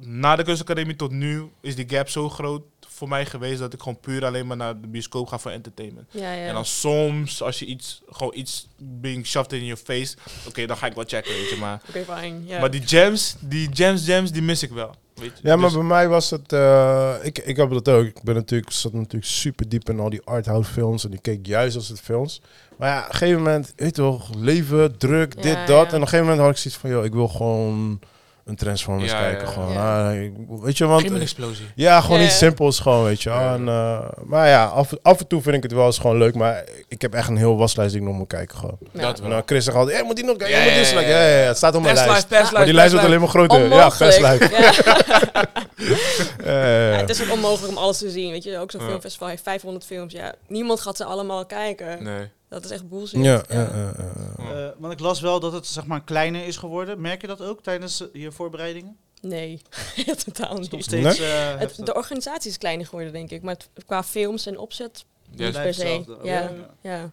na de kunstacademie tot nu is die gap zo groot voor mij geweest dat ik gewoon puur alleen maar naar de bioscoop ga voor entertainment.
Ja, ja.
En dan soms, als je iets, gewoon iets being shoved in your face, oké, dan ga ik wel checken, weet je. Maar,
Oké, fijn. Ja.
maar die gems, die gems, gems, die mis ik wel. Weet je.
Ja, maar
Dus-
bij mij was het. eh, ik, ik heb dat ook. Ik ben natuurlijk, zat natuurlijk super diep in al die arthouse films. En ik keek juist als het films. Maar ja, op een gegeven moment, weet je toch, leven, druk,
Ja,
dit, dat.
ja.
En op een gegeven moment had ik zoiets van, joh, ik wil gewoon een Transformers
Ja, ja,
kijken.
ja.
Gewoon,
Ja.
ah, ik- weet je, want.
Geen explosie.
Ja, gewoon
Ja,
iets
ja.
simpels gewoon, weet je. wel.
Ja.
En, eh, maar ja, af, af en toe vind ik het wel eens gewoon leuk. Maar ik heb echt een heel waslijst die ik nog moet kijken gewoon.
Ja.
Dat
En
wel.
dan Chris zegt altijd, hey, moet die nog kijken?
Ja,
moet die dus
ja,
nog
ja,
kijken? Ja, ja, ja, het staat op mijn lijst.
Perslijst, perslijst,
Maar die lijst wordt alleen maar groter. Ja, perslijst.
Onmogelijk. Ja.
Eh,
Ja, het is ook onmogelijk om alles te zien. Weet je, ook zo'n
Ja.
filmfestival heeft 500 films. Ja, niemand gaat ze allemaal kijken.
Nee.
Dat is echt bullshit.
ja, eh, eh, eh, eh.
Ja.
Eh, want ik las wel dat het zeg maar kleiner is geworden. Merk je dat ook tijdens eh, je voorbereidingen?
Nee, totaal
Nog
niet.
steeds eh, heftig.
Het, de organisatie is kleiner geworden, denk ik. Maar het- qua films en opzet,
Ja,
per se.
hetzelfde.
Ja.
Oké.
ja.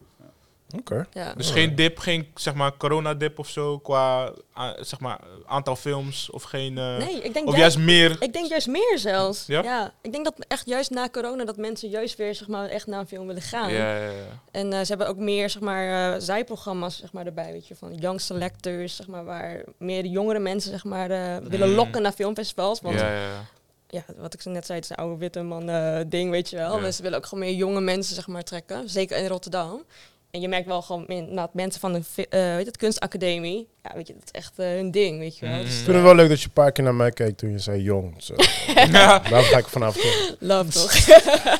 Oké.
ja.
Dus geen dip, geen zeg maar coronadip of zo qua a- zeg maar aantal films of geen. eh,
Nee, ik denk,
of
juist,
juist meer.
ik denk juist meer zelfs.
Ja?
Ja? Ik denk dat echt juist na corona dat mensen juist weer zeg maar, echt naar een film willen gaan.
Ja, ja, ja.
En eh, ze hebben ook meer zeg maar, eh, zijprogramma's zeg maar, erbij. Weet je, van young selectors, zeg maar, waar meer de jongere mensen zeg maar, eh, willen
Mm.
lokken naar filmfestivals. Want
ja, ja, ja.
ja, wat ik net zei, het is een oude witte man eh, ding, weet je wel.
Ja.
Dus ze willen ook gewoon meer jonge mensen, zeg maar, trekken. Zeker in Rotterdam. En je merkt wel gewoon min- dat mensen van de fi- eh, weet het, kunstacademie, ja, weet je, dat is echt eh, hun ding, weet je wel.
Mm.
Dus,
Ik vind het wel leuk dat je een paar keer naar mij keek toen je zei jong. Zo.
Ja.
Daar ga ik vanaf toe.
love toch?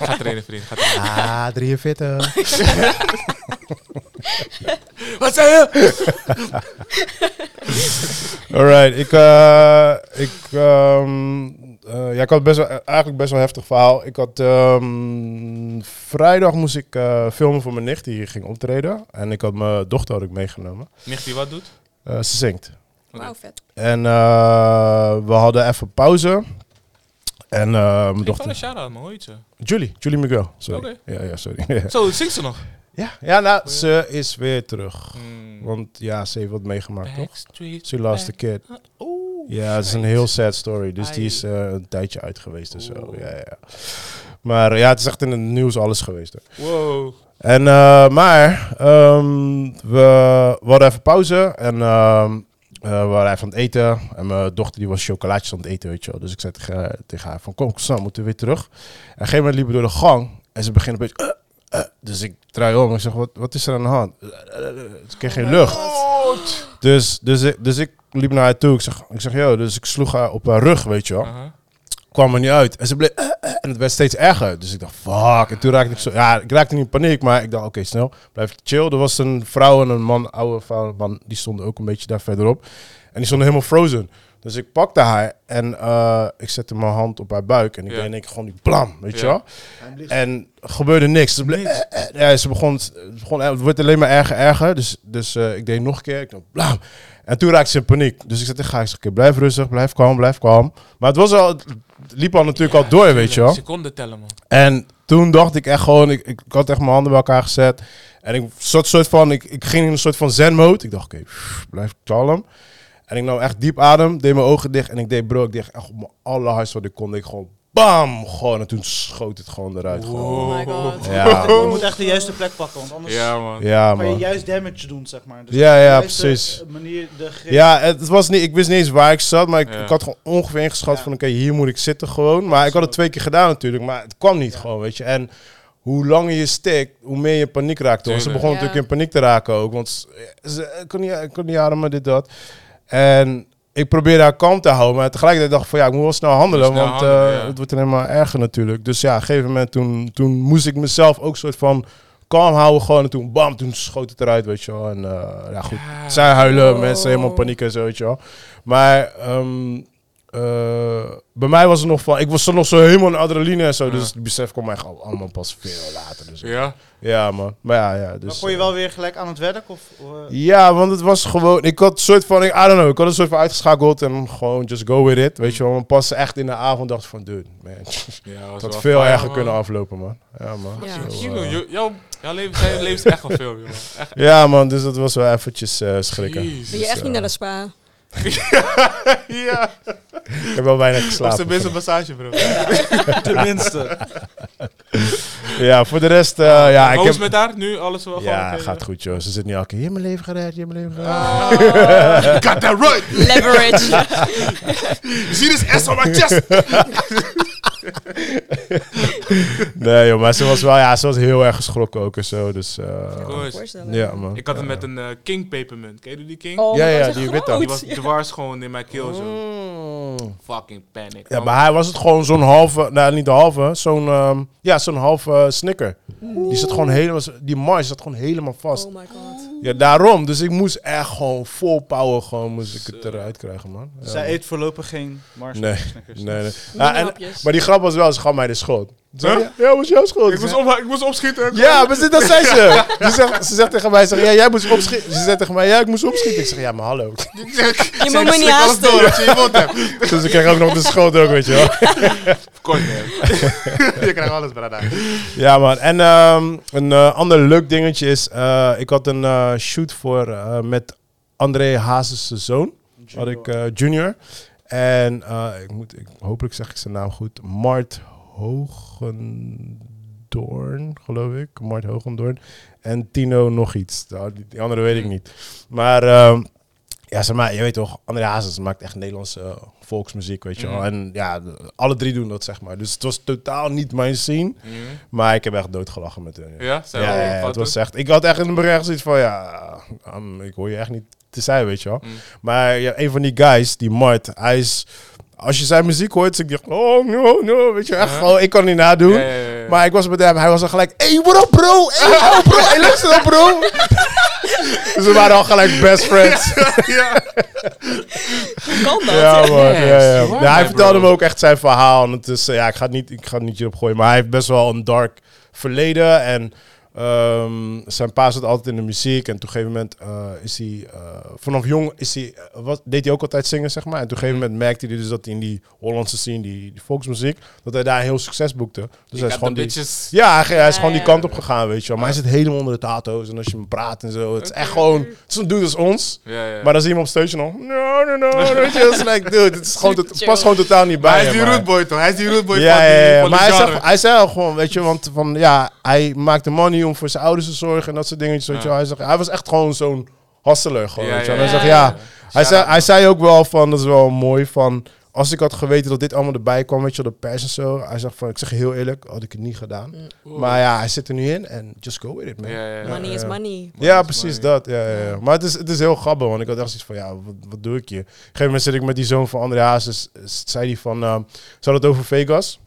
Ga trainen, vriend. Ga trainen.
Ah, 43.
Wat zei je?
Alright, ik, eh, ik, ehm, eh, ja, ik had best wel, eigenlijk best wel een heftig verhaal. Ik had, ehm, vrijdag moest ik eh, filmen voor mijn nicht die hier ging optreden. En ik had mijn dochter had ik meegenomen.
Nicht die wat doet?
Eh, ze zingt.
Wauw, vet.
En eh, we hadden even pauze. En eh, mijn
Ik van een
dochter...
shout-out, man. Hoe heet ze?
Julie, Julie Miguel. Sorry.
Oké.
Ja, ja, sorry.
Zo, zingt ze nog?
ja, ja, nou, ze is weer terug.
Hmm.
Want ja, ze heeft wat meegemaakt, toch?
Backstreet.
She lost a kid.
Oeh.
Ja, het is een heel sad story. Dus die
Ai.
is eh, een tijdje uit geweest en zo.
Oeh.
Ja, ja. Maar eh, ja, het is echt in het nieuws alles geweest. Hè.
Wow.
En, eh, maar ehm, we, we hadden even pauze en ehm, eh, we waren even aan het eten. En mijn dochter die was chocolaatjes aan het eten, weet je wel. Dus ik zei tegen, haar- tegen haar van, kom, Sam, moeten we weer terug. En op een gegeven moment liepen we door de gang en ze beginnen een beetje... "Eh, eh." dus ik draai om en ik zeg, wat, wat is er aan de hand? Eh, eh, eh, Ze kreeg geen lucht. Dus, dus, ik- dus ik liep naar haar toe. Ik zeg, ik zeg yo, dus ik sloeg haar op haar rug, weet je wel
Aha.
kwam er niet uit. En ze bleef... eh, eh, en het werd steeds erger. Dus ik dacht, fuck. En toen raakte ik zo... Ja, ik raakte niet in paniek, maar ik dacht, oké, snel. Blijf chill. Er was een vrouw en een man, oude vrouw en man. Die stonden ook een beetje daar verderop. En die stonden helemaal frozen. Dus ik pakte haar en eh, ik zette mijn hand op haar buik. En ik
Ja.
deed in één keer gewoon die blam, weet je
Ja.
wel.
Hij ligt-
En er gebeurde niks. Ze, bleef- eh, eh, ja, ze begon, ze begon... eh, Het wordt alleen maar erger, erger. Dus, dus eh, ik deed nog een keer. Ik dacht, blam. En toen raakte ze in paniek. Dus ik zei tegen haar, ik zeg, oké, blijf rustig, blijf kalm, blijf kalm. Maar het was al... Het liep al natuurlijk al door, weet je wel.
Seconden tellen, man.
En toen dacht ik echt gewoon, ik, ik had echt mijn handen bij elkaar gezet. En ik zat soort van, ik, ik ging in een soort van zen-mode. Ik dacht, oké, pff, blijf kalm. En ik nam echt diep adem, deed mijn ogen dicht en ik deed bro, ik deed echt op mijn allerhardst wat ik kon. Deed ik gewoon bam, gewoon. En toen schoot het gewoon eruit. gewoon.
Oh my god.
Ja,
Je moet echt de juiste plek pakken, want anders
Ja, man.
Oh. ja,
kan je
man.
juist damage doen, zeg maar. Dus
Ja,
de
ja,
juiste
precies.
Manier de grip.
Ja, het was niet, ik wist niet eens waar ik zat, maar ik,
Ja.
ik had gewoon ongeveer ingeschat
Ja.
van oké, hier moet ik zitten gewoon. Maar ik had het twee keer gedaan natuurlijk, maar het kwam niet
Ja.
gewoon, weet je. En hoe langer je stikt, hoe meer je in paniek raakt. hoor. Ze
Tuurlijk.
begon
Ja.
natuurlijk in paniek te raken ook, want ze, ze- ik kon niet, ik kon niet ademen, dit, dat. En ik probeerde haar kalm te houden, maar tegelijkertijd dacht ik van ja, ik moet wel snel handelen,
Snel
want eh,
handelen, ja.
het wordt alleen maar erger natuurlijk. Dus ja, op een gegeven moment toen, toen moest ik mezelf ook soort van Kalm houden gewoon. En toen bam, toen schoot het eruit, weet je wel. En eh, ja, goed. Zij huilen,
Oh.
mensen helemaal paniek en zo, weet je wel. Maar ehm, eh, bij mij was het nog van... Ik was er nog zo helemaal in adrenaline en zo. Dus het besef kwam echt al- allemaal pas veel later. Dus, ja.
Ja?
man. Maar ja, ja. Dus,
maar kon je wel weer gelijk aan het werk? Of, eh,
ja, want het was gewoon. Ik had een soort van. Ik, I don't know. Ik had een soort van uitgeschakeld en gewoon just go with it. Weet je wel. Maar pas echt in de avond dacht ik van, dude, man. Het
ja was
had
wel
veel
fijn,
erger
man.
kunnen aflopen, man. Ja, man.
Ja.
Zo,
Kilo,
eh,
jou- jouw, jouw leven, zijn leven is echt wel veel, joh. Echt
ja, man. Dus dat was wel eventjes eh, schrikken.
Jezus.
Ben je
Dus,
echt niet
eh,
naar de spa?
Ja,
Ik heb wel weinig
op zijn
geslapen.
minst een massage, bro.
tenminste.
Ja, voor de rest. eh, ja, ik
Hoe is
heb.
met haar nu? Alles wel gewoon eh,
Ja,
oké?
gaat goed, joh. Ze zit niet elke keer. Je hebt mijn leven gered, je hebt mijn leven gered.
Ah, got that right!
Oh. Leverage.
You see this S on my chest?
Nee, joh, maar ze was wel. Ja, ze was heel erg geschrokken ook en zo. Dus. eh,
Koos.
ja, man.
Ik had hem met een eh, king papermunt. Ken je die king?
Oh,
Ja,
maar
ja,
wat
die
een
witte.
Die
groot.
was dwars gewoon in mijn keel zo.
Mm.
Fucking panic.
Ja, maar hij was het gewoon zo'n halve, nou niet de halve, zo'n ehm, ja, zo'n halve eh, snicker. Die zat gewoon helemaal, die mars zat gewoon helemaal vast.
Oh my god.
Ja, daarom. Dus ik moest echt gewoon vol power, gewoon moest ik het eruit krijgen, man. Ja,
Zij
man.
eet voorlopig geen Mars.
Nee,
Snickers.
nee, nee.
Mini
Ah, en-
hapjes.
maar die grap was wel, ze gaf mij de schuld. Ze
Huh?
zei, Ja, dat was jouw schuld.
ik,
Ik
moest op, ik moest opschieten.
ja, maar dit, dat zei ze. Ze zegt, ze zegt tegen mij, ze zegt, ja, jij moest opschieten. Ze zegt tegen mij, ja, ik moest opschieten. Ik zeg, ja, maar hallo.
Je moet me niet haasten.
als je je mond hebt.
Dus ik kreeg ook nog de schuld ook, weet je wel.
Kort, man. je krijgt alles, brada.
Ja, man. En ehm, een eh, ander leuk dingetje is... eh, ik had een eh, shoot voor, eh, met André Hazes' zoon. Had ik eh, junior. En eh, ik moet, ik, hopelijk zeg ik zijn naam goed. Mart Hogendoorn, geloof ik. Mart Hogendoorn. En Tino nog iets. Nou, Die, die andere weet ik niet. Maar... ehm, ja, zeg maar, je weet toch, André Hazes maakt echt Nederlandse eh, volksmuziek, weet je wel. En ja, de- alle drie doen dat, zeg maar. Dus het was totaal niet mijn scene. Maar ik heb echt doodgelachen met hun. Ja,
Ja,
ja,
zijn we
ja,
wel
het
fouten?
was echt. Ik had echt in het begin echt zoiets van, ja, ehm, ik hoor je echt niet te zijn, weet je
Mm.
wel. Maar ja, een van die guys, die Mart, hij is, als je zijn muziek hoort, dus ik dacht, oh no, no, weet je, echt gewoon, ik kan niet nadoen.
Ja, ja, ja, ja.
Maar ik was met hem, hij was al gelijk, hey, what up bro, hey, yo, bro, hey, luister dan bro. dus we waren al gelijk best friends.
Kan dat?
Ja, man.
Yes,
ja, ja.
you are
Ja, hij
my
vertelde me
bro.
ook echt zijn verhaal. En het is, eh, ja, ik ga het niet, ik ga het niet hierop gooien, maar hij heeft best wel een dark verleden. En ehm, zijn pa zat altijd in de muziek. En op een gegeven moment eh, is hij, eh, vanaf jong is hij, eh, wat, deed hij ook altijd zingen, zeg maar. En op een
Mhm.
gegeven moment merkte hij dus dat hij in die Hollandse scene, die, die volksmuziek, dat hij daar heel succes boekte. Dus hij is
got the
gewoon die,
bitches.
ja, hij, hij is
Ja,
gewoon die
ja.
kant op gegaan, weet je wel. Maar hij zit helemaal onder de tato's. En als je hem praat en zo, het is echt gewoon, het is een dude als ons.
Ja, ja.
Maar dan zie je hem op stage nog. No, no, no. Weet je, dat is like, dude, het, is gewoon, het past gewoon totaal niet bij.
hij is die
hem, maar-
rootboy, toch? Hij is die rootboy
ja,
van
ja,
die,
ja,
van
maar
die
hij zei,
genre.
hij zei al gewoon, weet je, want van ja, hij maakte money om voor zijn ouders te zorgen en dat soort dingetjes. Weet je, wel. hij, zegt, hij was echt gewoon zo'n hustler. Gewoon,
Ja,
weet je. wel.
ja,
En
ja,
hij zegt, ja,
ja.
Hij, zei, hij zei ook wel van, dat is wel mooi van. Als ik had geweten dat dit allemaal erbij kwam, weet je, wel, de pers en zo. Hij zegt van, ik zeg je heel eerlijk, had ik het niet gedaan. Maar ja, hij zit er nu in en just go with it, man.
Ja, ja, ja.
Money is money.
Ja,
is
precies
mooi.
dat. Ja, ja, ja. Maar het is, het is heel grappig, want ik had echt zoiets van, ja, wat, wat doe ik hier? Op een gegeven moment zit ik met die zoon van André Hazes, eh, zei hij van, ehm ze hadden het over Vegas.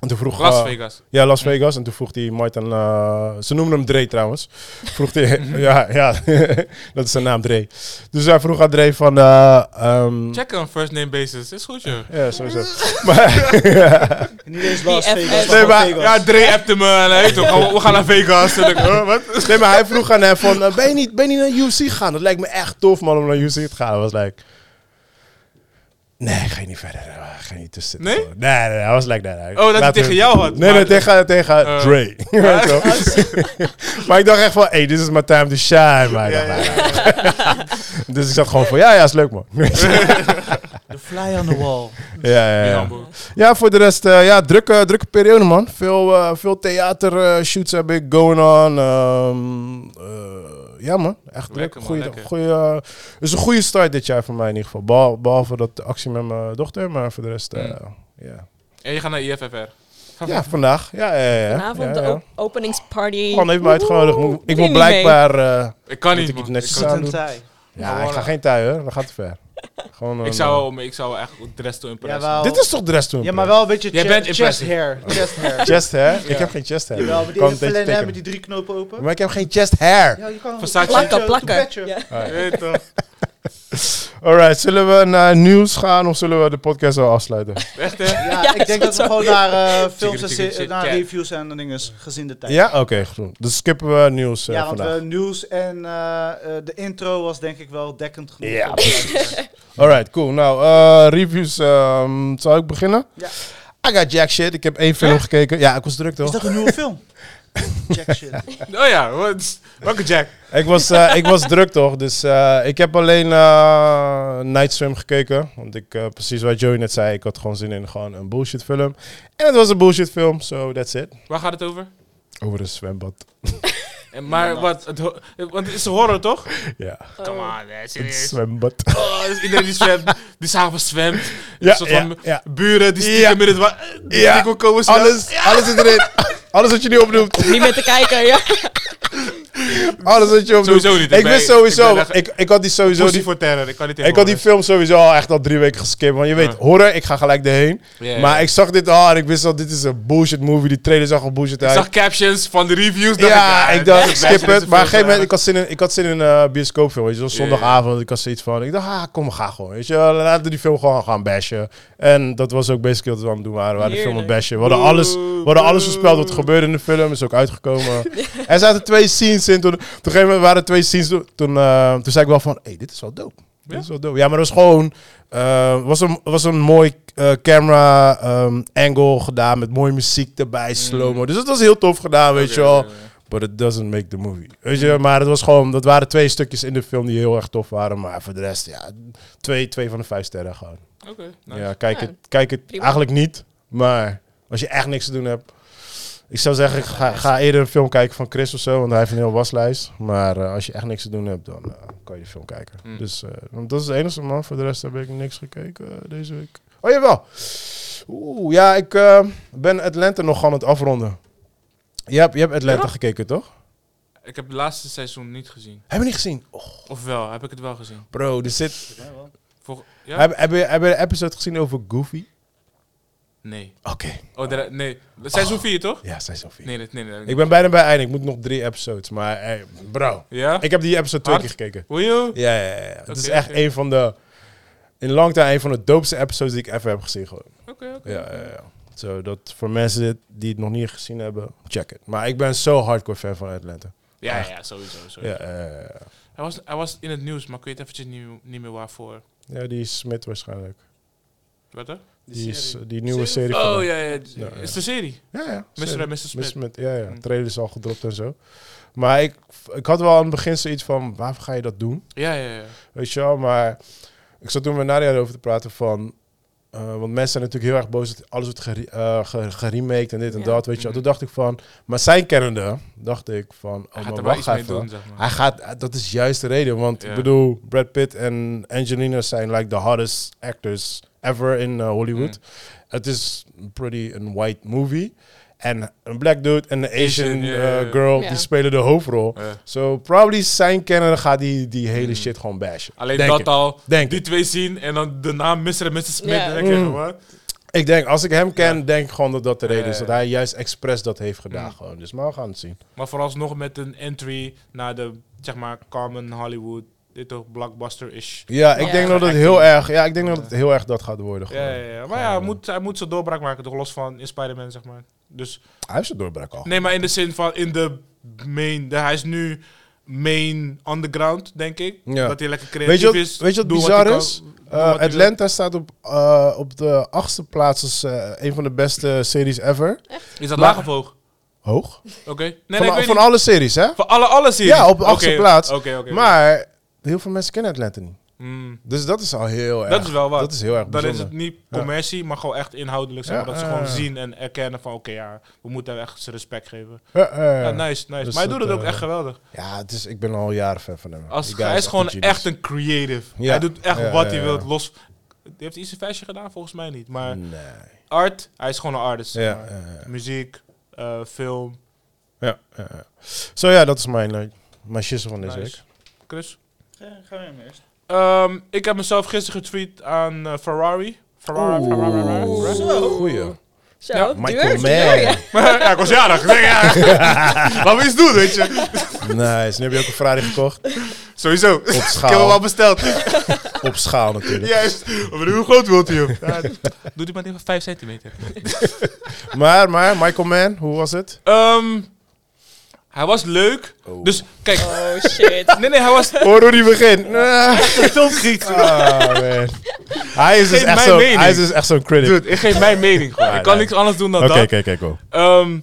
En toen vroeg...
Las
eh,
Vegas.
ja, Las Vegas. En toen vroeg hij Martin... eh, ze noemden hem Dre trouwens. Vroeg hij... ja, ja dat is zijn naam, Dre. Dus hij vroeg aan Dre van... eh ehm,
Check on first name basis. Is goed, joh.
ja, zo is het. Maar,
Niet eens Las
BFF.
Vegas,
Nee,
maar
maar-
Vegas.
Ja, Dre appte me en hij heet toch, oh, we gaan naar Vegas. En ik, huh, wat?
nee, maar hij vroeg aan hem van... eh, ben, je niet, ben je niet naar UFC gegaan? Dat lijkt me echt tof, man, om naar UFC te gaan. Hij was like... Nee, ik ga je niet verder. eh, Ik ga je niet tussen zitten.
Nee?
Nee, nee, nee, hij was like... Nee, nee,
Oh, dat hij
laten we-
tegen jou had.
Nee, nee,
Maar-
tegen, tegen
Eh.
Dre. Weet je wel? Maar ik dacht echt van, hey, this is my time to shine. Maar ik dacht, "Nou, nou." dus ik zat gewoon van, ja, ja, is leuk man. ja,
The fly on the wall.
ja,
Ja,
ja.
bro.
ja, voor de rest, eh, ja, drukke, drukke periode man. Veel, eh veel theatershoots heb ik going on. Ehm, eh, ja man, echt druk.
Lekker, man,
Goeie,
lekker.
goeie, eh, is een goede start dit jaar voor mij in ieder geval. Behal- Behalve dat de actie met mijn dochter, maar voor de rest, eh,
Mm.
ja.
En je gaat naar IFFR.
ja, vandaag. Ja, ja, ja. ja.
Vanavond de
ja, ja.
o- openingsparty.
Gewoon even me uitgenodigd. Moet-
Doe
Ik moet
je niet mee?
blijkbaar... eh,
Ik kan
Moet
niet,
ik het
man.
netjes
Ik
Zit
kan-
aan?
een
doen.
tij.
ja, ik ga geen tui hoor, dat gaat te ver. Gewoon een,
Ik zou, wel- maar ik zou wel echt de rest toe
Ja,
impressen.
wel,
eh, dit is toch de rest toen?
ja, maar wel een beetje
Jij
che-
bent
chest
impressive.
hair. Chest hair.
Chest hair? Ik heb geen chest hair.
Jawel, met die
Kan
ene
een beetje
flanel met
tikken.
die drie knopen open.
Maar ik heb geen chest hair.
Ja, je kan
Versace.
Plakken, plakken.
toepetje.
Ja.
Weet toch?
Alright, zullen we naar nieuws gaan of zullen we de podcast al afsluiten?
Echt hè?
Ja,
Ja,
ik denk dat we
zo.
gewoon naar eh, films
Tikkeri,
en
tikkeri,
se- naar
tikkeri.
reviews en dingen gezien de tijd.
Ja? Oké, goed. Dus skippen we nieuws eh,
Ja, want
vandaag.
eh, nieuws en eh, eh, de intro was denk ik wel dekkend genoeg.
Ja.
voor de luisteraar.
Alright, cool. Nou, eh, reviews. ehm zal ik beginnen?
Ja.
I got jack shit. Ik heb één film gekeken. Ja, ik was druk
Is
toch?
dat een nieuwe film? Jack shit.
Oh ja, wat- welke Jack?
Ik was, eh, ik was druk toch? Dus eh, ik heb alleen eh, Night Swim gekeken. Want ik, eh, precies wat Joey net zei, ik had gewoon zin in gewoon een bullshit film. En het was een bullshit film, so that's it.
Waar gaat het over?
Over een zwembad.
En maar wat, het ho- want het is een horror toch?
Ja,
Come
Oh.
on, hè,
een
serieus.
zwembad.
Oh, dus iedereen die zwemt, die s'avonds zwemt.
Ja,
een soort
ja,
van
ja.
buren die stiekem in het wa- eh, die
Ja.
stiekem komen snel.
Alles, alles is erin. Alles wat je nu opnoemt.
Niet meer te kijken, ja.
Alles Oh, wat je opnoemt.
Sowieso niet.
Ik
Ik ben-
wist sowieso.
ik ben
Ik,
echt-
ik, had die sowieso.
Pussy
Die,
voor terror, ik kan niet
ik had die film sowieso al echt al drie weken geskipt. Want je weet,
Ja.
horror, ik ga gelijk erheen.
Ja, ja.
Maar ik zag dit al en ik wist al, dit is een bullshit movie. Die trailer zag al bullshit
Ik
uit.
zag captions van de reviews. dacht
Ja, ik dacht, ik
dit is
skip
best
het. Maar op een gegeven moment,
een
ik had zin in, ik had zin in een bioscoopfilm. Weet je wel,
Ja.
zondagavond. Ik had zoiets van, ik dacht, ah, kom, ga gewoon. Weet je wel, laten we die film gewoon gaan bashen. En dat was ook basically wat we aan het doen waren. We waren de film aan het
Heerlijk.
bashen. We hadden alles, we hadden alles voorspeld wat er gebeurde in de film. Is ook uitgekomen. Er zaten twee scenes in. Toen, op een gegeven moment waren er twee scenes. Toen, toen, eh, toen zei ik wel van, hey, dit is wel dope. Dit is wel dope. Ja, maar dat was gewoon... eh was, een, was een mooi eh, camera ehm, angle gedaan met mooie muziek erbij, slow-mo. Dus dat was heel tof gedaan, weet
Oké,
je wel.
oké, oké.
But it doesn't make the movie. Weet je, maar het was gewoon, dat waren twee stukjes in de film die heel erg tof waren. Maar voor de rest, ja, twee, twee van de vijf sterren gewoon.
Oké, nice.
Ja, kijk
Ja.
het, kijk het
Prima.
eigenlijk niet. Maar als je echt niks te doen hebt. Ik zou zeggen, ik ga, ga eerder een film kijken van Chris of zo, want hij heeft een heel waslijst. Maar eh, als je echt niks te doen hebt, dan eh, kan je de film kijken.
Hmm.
Dus eh, want dat is het enige, man. Voor de rest heb ik niks gekeken eh, deze week. Oh, jawel. Oeh, ja, ik eh, ben Atlanta nog aan het afronden. Je hebt, je hebt Atlanta gekeken, toch?
Ik heb het laatste seizoen niet gezien.
Hebben we niet gezien? Oh,
Of wel, heb ik het wel gezien?
bro, er zit...
Vol- ja?
Hebben heb, je- heb je een episode gezien over Goofy?
Nee.
Oké.
Oh, daar- nee. Seizoen 4 toch?
Ja, zij is al vier.
Nee, dat- nee, nee. dat-
Ik ben bijna bij einde. Ik moet nog drie episodes. Maar eh, bro,
Ja?
ik heb die episode twee
Hard.
keer gekeken.
Hoe joh?
Ja, ja, ja. ja. Het is
Oké,
echt
oké.
een van de... In lang tijd een van de doopste episodes die ik even heb gezien. Gewoon.
Oké, oké.
Ja, ja, ja. Zo, dat voor mensen die het nog niet gezien hebben, check het. Maar ik ben zo hardcore fan van Atlanta.
Ja, ja, ja, sowieso. sowieso.
Ja, ja, ja, ja.
Hij, was, hij was in het nieuws, maar ik weet eventjes niet, niet meer waarvoor.
ja, die Smit waarschijnlijk.
Wat hè?
Die, is, die nieuwe serie. van
Oh
hem.
ja, ja, d-
Ja, ja.
Is de serie?
ja, ja.
Mr. en Mr. Smith.
Miss Smith, Mm. ja, ja.
Hm.
Trailer is al gedropt en zo. Maar ik, ik had wel aan het begin zoiets van, waarvoor ga je dat doen?
Ja, ja, ja.
Weet je wel, maar ik zat toen met Nadia over te praten van... eh, want mensen zijn natuurlijk heel erg boos dat alles wordt gere- eh, ge- geremaked en dit en
Ja.
dat, weet je wel.
Mhm.
Toen dacht ik van... Maar zijn kennende dacht ik van...
Hij
Oh,
gaat
maar
er wel
wacht
iets mee
even.
doen, zeg maar.
Hij gaat... eh, Dat is juist de reden, want ik
Ja.
bedoel... Brad Pitt en Angelina zijn like the hottest actors ever in eh, Hollywood.
Mhm.
Het is pretty een white movie. En een black dude en een Asian,
Asian, ja,
eh,
ja, ja.
girl,
Ja.
die spelen de hoofdrol.
Ja.
So, probably zijn kennende gaat die, die hele
Mm.
shit gewoon bashen.
Alleen
Denk
dat
ik.
al,
Denk
die
ik.
twee zien en dan de naam Mr. en Mr. Smith.
Ja.
En dan denk ik,
Mm.
wat?
Ik denk, als ik hem ken, denk ik gewoon dat dat de reden is.
Ja, ja,
Dat
ja.
hij juist expres dat heeft gedaan
Mm.
gewoon. Dus maar we gaan het zien.
Maar vooralsnog met een entry naar de, zeg maar, common Hollywood, dit toch, blockbuster-ish.
Ja, ik
Ja.
denk dat het
Acting.
heel erg, ja, ik denk dat
Ja.
het heel erg dat gaat worden gewoon. eh,
Ja, ja, ja. Maar ja, hij moet, hij moet zijn doorbraak maken, toch los van in Spider-Man, zeg maar. Dus,
Hij heeft zijn doorbraak al.
nee, maar in de zin van in de main, de, hij is nu main underground, denk ik.
Ja.
Dat hij lekker
Weet
creatief
je wat,
is.
weet je wat
doe
bizar
hij kan-
is?
doe
Eh,
wat hij wil.
Atlanta staat op, eh, op de achtste plaats als eh, een van de beste series ever.
Is dat
Maar-
laag of hoog?
Hoog.
Oké. Nee,
van
nee, ik
al-
weet
van
niet.
alle series, hè?
Van alle, alle series?
Ja, op de
Oké,
achtste plaats.
Oké, oké. oké.
Maar heel veel mensen kennen Atlanta niet.
Hmm.
Dus dat is al heel erg.
Dat is wel wat.
Dat is heel erg
Dan
bijzonder.
is het niet
Ja.
commercie, maar gewoon echt inhoudelijk. Zeg
Ja,
maar, dat ze
ja,
gewoon
ja.
zien en erkennen van... Oké, ja, we moeten hem echt zijn respect geven.
Ja, ja, ja.
Ja, nou, nice, nice.
Dus
maar hij
dat,
doet het ook
eh,
echt geweldig.
Ja, het is, ik ben al jaren fan van hem.
Als,
Die guy
hij is gewoon
een genius.
echt een creative.
Ja.
Hij doet echt
Ja,
wat
ja,
hij
ja.
wil. Los, heeft hij zijn feestje gedaan? Volgens mij niet. Maar
Nee.
art, hij is gewoon een artist. zeg
Ja,
maar.
ja, ja.
Muziek, eh, film.
ja, ja, ja. Zo ja, dat is mijn, eh, mijn shizzle van deze
Nice. Chris?
Ga- Gaan we hem eerst.
Eh, Ehm, ik heb mezelf gisteren getweet aan eh, Ferrari. Ferrari, Ferrari, Ferrari.
Zo.
Goeie.
Zo,
Ja,
Michael
duur, duur, ja.
ja, ik was jarig. Ik denk, ja. Laten we iets doen, weet je.
Nice. Nu heb je ook een Ferrari gekocht.
Sowieso.
Op
Ik heb hem al
schaal.
besteld.
Op schaal natuurlijk.
Juist. Maar hoe groot wilt u hem? Ja, doe die maar tegen 5 centimeter.
Maar, maar, Michael Mann, hoe was het?
Ehm, hij was leuk.
Oh.
Dus kijk.
Oh shit.
Nee, nee, hij was.
Hoor hoe die begint.
Filmkriet.
Ah, man. Hij is dus
Geef
echt
mijn
zo'n
mening.
hij is dus echt zo'n critic.
Dude, ik geef mijn mening gewoon.
Ja,
ik kan
nee.
niks anders doen dan
Oké,
dat.
kijk, kijk, go.
Ehm,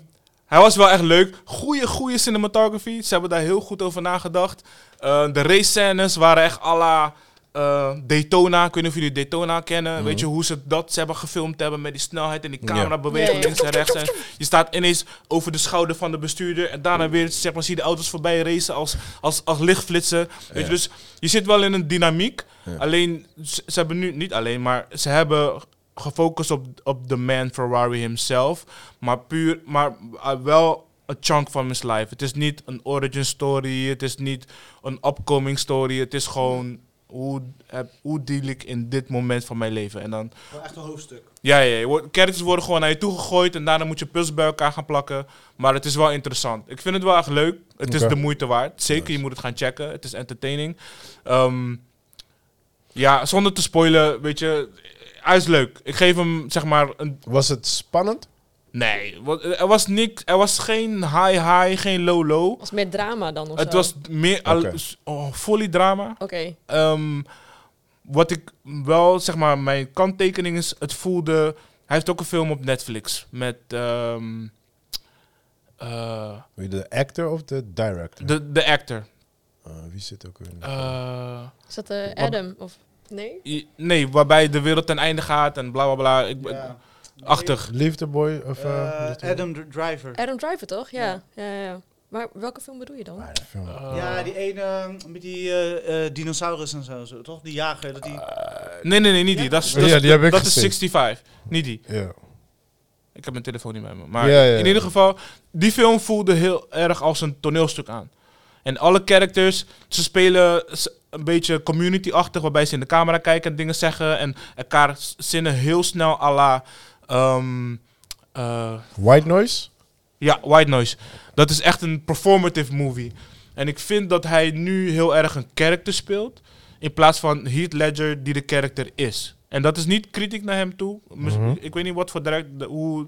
hij was wel echt leuk. Goeie, goede cinematography. Ze hebben daar heel goed over nagedacht. Eh, de race scènes waren echt à la eh, Daytona. Ik weet niet of jullie Daytona kennen. Weet je hoe ze dat ze hebben gefilmd hebben met die snelheid en die camerabeweging
Ja, ja.
links en rechts. En je staat ineens over de schouder van de bestuurder. En daarna weer zeg maar, zie je de auto's voorbij racen als, als, als lichtflitsen. Weet je, dus je zit wel in een dynamiek. Alleen, ze, ze hebben nu, niet alleen, maar ze hebben gefocust op, op de man Ferrari himself. Maar puur, maar eh, wel een chunk van his life. Het is niet een origin story, het is niet een upcoming story. Het is gewoon, hoe, heb, hoe deal ik in dit moment van mijn leven? En dan
Echt een hoofdstuk.
ja, ja, ja. Je wordt- Characters worden gewoon naar je toe gegooid en daarna moet je puzzels bij elkaar gaan plakken. Maar het is wel interessant. Ik vind het wel echt leuk. Het is
Oké.
de moeite waard. Zeker, je moet het gaan checken. Het is entertaining. Ehm, ja, zonder te spoilen, weet je, hij is leuk. Ik geef hem zeg maar een.
Was het spannend?
Nee, wat- er was niks. Er was geen high-high, geen low-low.
Was meer drama dan of
Het
Oh, zo?
was meer al-
Oké.
s- oh, fully drama.
Oké.
Ehm, wat ik wel, zeg maar, mijn kanttekening is, het voelde... Hij heeft ook een film op Netflix met ehm, eh,
De actor of de director?
de, de actor.
Ah, wie zit ook weer? in de-
Eh,
Is dat eh,
Wat-
Adam of... Nee?
i- nee, waarbij de wereld ten einde gaat en bla bla bla. Ik, ben-
Ja.
Achtig.
Liefdeboy of... eh,
Eh,
Liefdeboy?
Adam Dr- Driver.
Adam Driver toch? Ja. ja. ja, ja. Maar welke film bedoel je dan?
Ah, de film.
Eh,
ja, die ene eh, met die eh, eh, dinosaurus en zo, zo, toch? Die jager. Dat die...
Ah, Eh, Nee, nee, nee, niet die. Dat is, dat is-
Ja, die heb ik
dat is
gezien.
65. Niet die.
Ja.
Ik heb mijn telefoon niet bij me. Maar
Ja, ja, ja.
in ieder geval, die film voelde heel erg als een toneelstuk aan. En alle characters, ze spelen s- een beetje community-achtig, waarbij ze in de camera kijken en dingen zeggen. En elkaar s- zinnen heel snel à la. ehm, eh,
White Noise?
ja, White Noise. Dat is echt een performative movie. En ik vind dat hij nu heel erg een character speelt. In plaats van Heath Ledger die de character is. En dat is niet kritiek naar hem toe. Mis-
Mhm.
Ik weet niet wat voor direct. de- Hoe,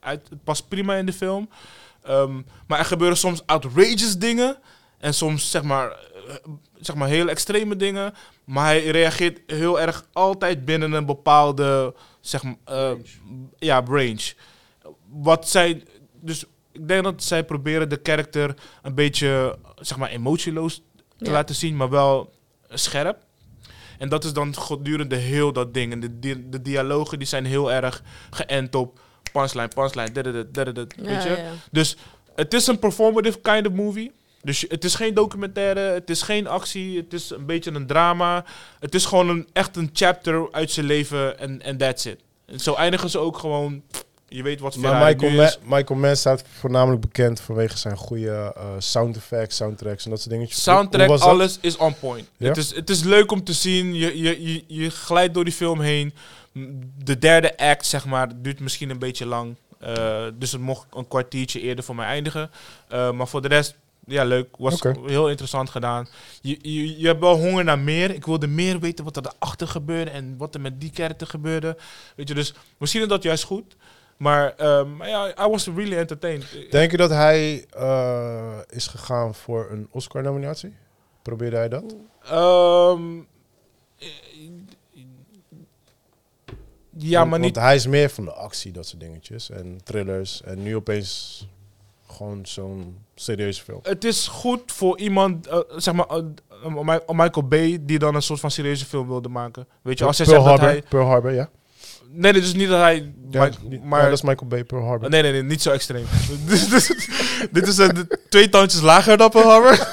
uit- het past prima in de film. Ehm, maar er gebeuren soms outrageous dingen. En soms zeg maar, eh, zeg maar heel extreme dingen. Maar hij reageert heel erg altijd binnen een bepaalde zeg maar, eh, Ja, range. Wat zij. Dus ik denk dat zij proberen de karakter een beetje zeg maar, emotieloos te
Ja.
laten zien, maar wel scherp. En dat is dan gedurende heel dat ding. En de, di- de dialogen die zijn heel erg geënt op punchline, punchline, dadadad, dadadad,
Ja,
weet je?
ja, ja.
Dus het is een performative kind of movie. Dus je- het is geen documentaire, het is geen actie, het is een beetje een drama. Het is gewoon een, echt een chapter uit zijn leven en en that's it. En zo eindigen ze ook gewoon, je weet wat
Maar
Ferrari
Michael,
nu is.
Ma- Michael Mann staat voornamelijk bekend vanwege zijn goede eh, sound effects, soundtracks en dat soort dingetjes. Hoe-
Soundtrack,
hoe was dat?
alles is on point.
Ja?
Het, is, het is leuk om te zien, je, je, je, je glijdt door die film heen. De derde act, zeg maar, duurt misschien een beetje lang. Eh, dus het mocht een kwartiertje eerder voor mij eindigen. Eh, maar voor de rest, ja, leuk. Was
Oké.
heel interessant gedaan. Je, je, je hebt wel honger naar meer. Ik wilde meer weten wat er daarachter gebeurde en wat er met die character gebeurde. Weet je, dus misschien is dat juist goed. Maar ehm, maar ja, I was really entertained.
Denk je dat hij eh, is gegaan voor een Oscar-nominatie? Probeerde hij dat?
Ehm, eh, ja,
Want-
maar
Want
niet.
hij is meer van de actie, dat soort dingetjes. En thrillers. En nu opeens gewoon zo'n serieuze film.
Het is goed voor iemand, eh, zeg maar, eh, eh, Mi- Michael Bay, die dan een soort van serieuze film wilde maken. Weet je, als jij
Pearl
zegt dat
Harbor,
hij.
Pearl Harbor, ja.
Nee, dit is niet dat hij.
ja
Mi-
die-
maar,
ja, dat is Michael Bay, Pearl Harbor.
Nee, nee, nee, niet zo extreem. Dus- dus- dit is een, twee toontjes lager dan Pearl Harbor.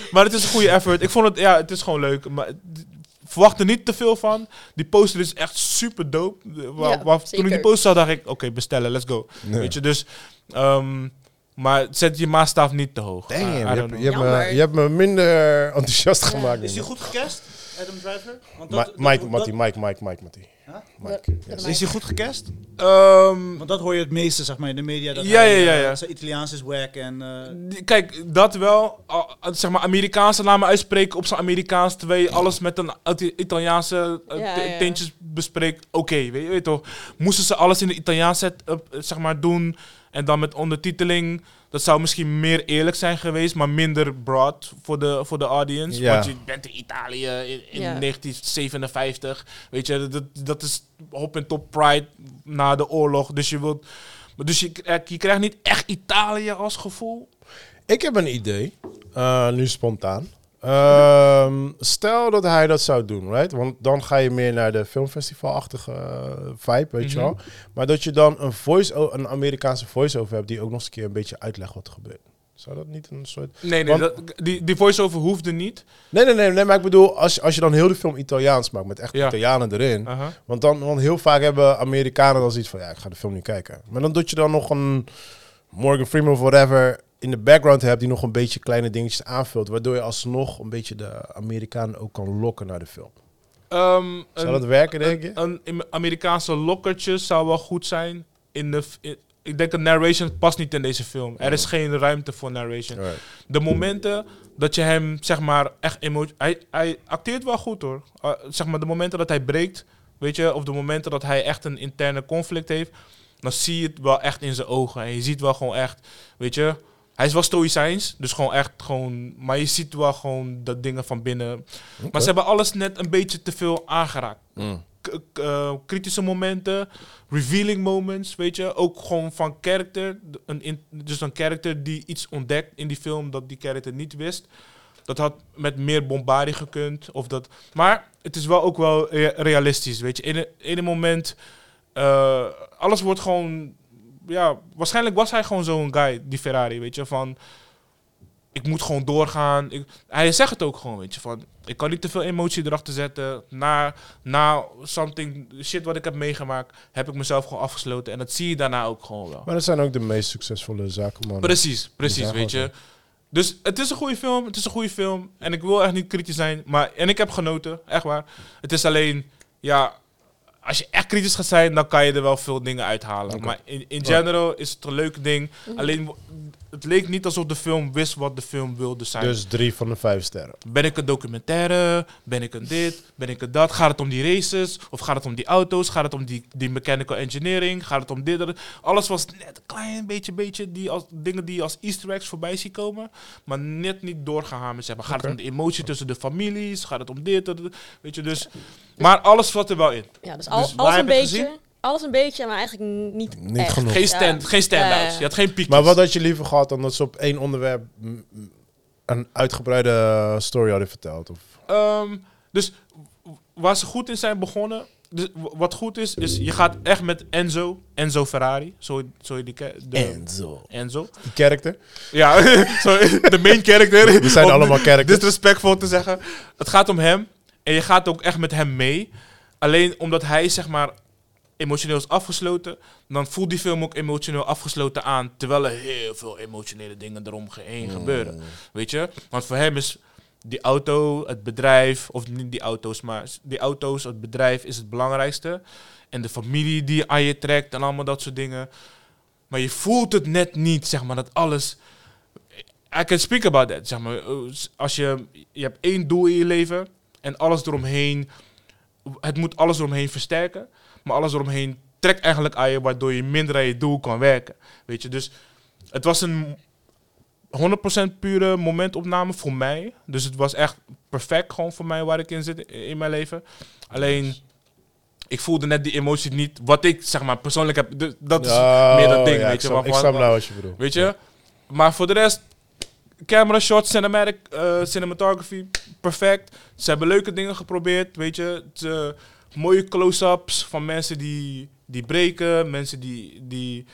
maar het is een goede effort. Ik vond het, ja, het is gewoon leuk. Maar d- verwacht er niet te veel van. Die poster is echt super dope. De- wa-
Ja,
wa- toen ik die
zeker.
poster zag, dacht ik, oké, bestellen, let's go.
Nee.
Weet je, dus... ehm, maar zet je maatstaf niet te hoog.
Damn,
I- I
je
don't
hebt,
know.
je, hebt me,
Jammer.
je hebt me minder enthousiast
Ja.
gemaakt.
Is die
jongen.
goed gecast? Adam Driver? Want
Ma-
dat,
Mike,
dat-
Matty, Mike, Mike, Mike, Matty.
Huh?
Mike,
Dus
yes.
Is
Is hij goed gecast?
Ehm,
Want dat hoor je het meeste, zeg maar, in de media. Dat
Ja,
hij,
ja, ja,
eh,
ja.
Zijn Italiaans is wack en... eh,
die- kijk, dat wel. Al- zeg maar Amerikaanse namen uitspreken op zijn Amerikaans. Terwijl je alles met een Ita- Italiaanse eh,
Ja,
te-
ja.
tintjes bespreekt. Oké, weet je weet toch. Moesten ze alles in het Italiaans zet, eh, zeg maar, doen. En dan met ondertiteling. Dat zou misschien meer eerlijk zijn geweest. Maar minder broad voor de, voor de audience.
Ja.
Want je bent in Italië in, in
Ja.
1957. Weet je, dat, dat is hop en top pride na de oorlog. Dus je wilt... Maar Dus je, eh, je krijgt niet echt Italië als gevoel.
Ik heb een idee, eh, nu spontaan. Ehm, stel dat hij dat zou doen, right? Want dan ga je meer naar de filmfestivalachtige eh, vibe, weet je wel. Maar dat je dan een, voice een Amerikaanse voice-over hebt die ook nog eens een keer een beetje uitlegt wat er gebeurt. Zou dat niet een soort...
Nee, nee,
Want-
dat- die, die voice-over hoefde niet.
Nee, nee, nee, nee maar ik bedoel, als, je- als je dan heel de film Italiaans maakt met echt
Ja.
Italianen erin. Want, dan, want heel vaak hebben Amerikanen dan zoiets van, ja, ik ga de film niet kijken. Maar dan dat je dan nog een Morgan Freeman of whatever in de background hebt... die nog een beetje kleine dingetjes aanvult... waardoor je alsnog een beetje de Amerikanen ook kan lokken naar de film.
Ehm,
Zou
een,
dat werken, denk je?
een Im- Amerikaanse lokkertje zou wel goed zijn. In de, f- in- ik denk een narration past niet in deze film. Er is geen ruimte voor narration.
Alright.
De momenten dat je hem, zeg maar, echt emo- Hij, hij acteert wel goed hoor. Eh, zeg maar, de momenten dat hij breekt, weet je, of de momenten dat hij echt een interne conflict heeft, dan zie je het wel echt in zijn ogen. En je ziet wel gewoon echt, weet je. Hij is wel stoïcijns, dus gewoon echt gewoon. Maar je ziet wel gewoon dat dingen van binnen. Maar ze hebben alles net een beetje te veel aangeraakt. K- k- eh, kritische momenten, revealing moments, weet je. Ook gewoon van character. D- Een in- dus een character die iets ontdekt in die film dat die character niet wist. Dat had met meer bombardie gekund. Of dat, maar het is wel ook wel rea- realistisch, weet je. In een- in een moment, eh, alles wordt gewoon... Ja, waarschijnlijk was hij gewoon zo'n guy, die Ferrari, weet je. Van, ik moet gewoon doorgaan. Ik, hij zegt het ook gewoon, weet je. Van, ik kan niet te veel emotie erachter zetten. Na, na something, shit wat ik heb meegemaakt, heb ik mezelf gewoon afgesloten. En dat zie je daarna ook gewoon wel.
Maar dat zijn ook de meest succesvolle zakenmannen.
Precies, precies,
Ja,
weet
eh, gewoon
je. Dus het is een goede film, het is een goede film. En ik wil echt niet kritisch zijn, maar... En ik heb genoten, echt waar. Het is alleen, ja... Als je echt kritisch gaat zijn, dan kan je er wel veel dingen uithalen. Maar in, in general is het een leuk ding. Alleen, het leek niet alsof de film wist wat de film wilde zijn.
Dus drie van de vijf sterren.
Ben ik een documentaire? Ben ik een dit? Ben ik een dat? Gaat het om die races? Of gaat het om die auto's? Gaat het om die, die mechanical engineering? Gaat het om dit? dat? Alles was net een klein beetje, beetje die als, dingen die je als easter eggs voorbij zie komen. Maar net niet doorgehamerd hebben. Gaat het om de emotie tussen de families? Gaat het om dit? dat, dat? Weet je, dus... Maar alles zat er wel in.
Ja, dus, al,
Dus waar
alles een
heb je het
beetje. Alles een beetje, maar eigenlijk n- niet.
Niet
echt.
genoeg.
Geen, stand,
Ja.
geen
Ja,
stand-outs.
ja.
Je had geen piekjes.
Maar wat had je liever gehad dan dat ze op één onderwerp m, m, een uitgebreide story hadden verteld? Of
Ehm, dus w- waar ze goed in zijn begonnen. Dus w- wat goed is, is je gaat echt met Enzo. Enzo Ferrari. Zo, zo je die ke- de,
zo.
Enzo.
eh, Die character.
Ja, sorry, de main character.
We zijn
Om
allemaal characters.
Disrespectvol te zeggen. Het gaat om hem. En je gaat ook echt met hem mee. Alleen omdat hij, zeg maar, emotioneel is afgesloten. Dan voelt die film ook emotioneel afgesloten aan. Terwijl er heel veel emotionele dingen eromheen gebeuren. Weet je? Want voor hem is die auto, het bedrijf, of niet die auto's, maar s- die auto's, het bedrijf is het belangrijkste. En de familie die je aan je trekt en allemaal dat soort dingen. Maar je voelt het net niet, zeg maar, dat alles. I can speak about that, zeg maar. Eh, s- Als je, je hebt één doel in je leven en alles eromheen, het moet alles eromheen versterken, maar alles eromheen trekt eigenlijk aan je, waardoor je minder aan je doel kan werken. Weet je, dus het was een 100% pure momentopname voor mij. Dus het was echt perfect gewoon voor mij waar ik in zit i- in mijn leven. Alleen, ik voelde net die emotie niet, wat ik zeg maar persoonlijk heb. Dus dat is meer dat ding,
Oh, ja, ik
weet je.
snap-
waarvan-
Ik snap nou wat je bedoelt.
Weet je? Maar voor de rest, camera shots, cinematic, eh, cinematography, perfect. Ze hebben leuke dingen geprobeerd, weet je? Het, eh, mooie close-ups van mensen die, die breken, mensen die, die,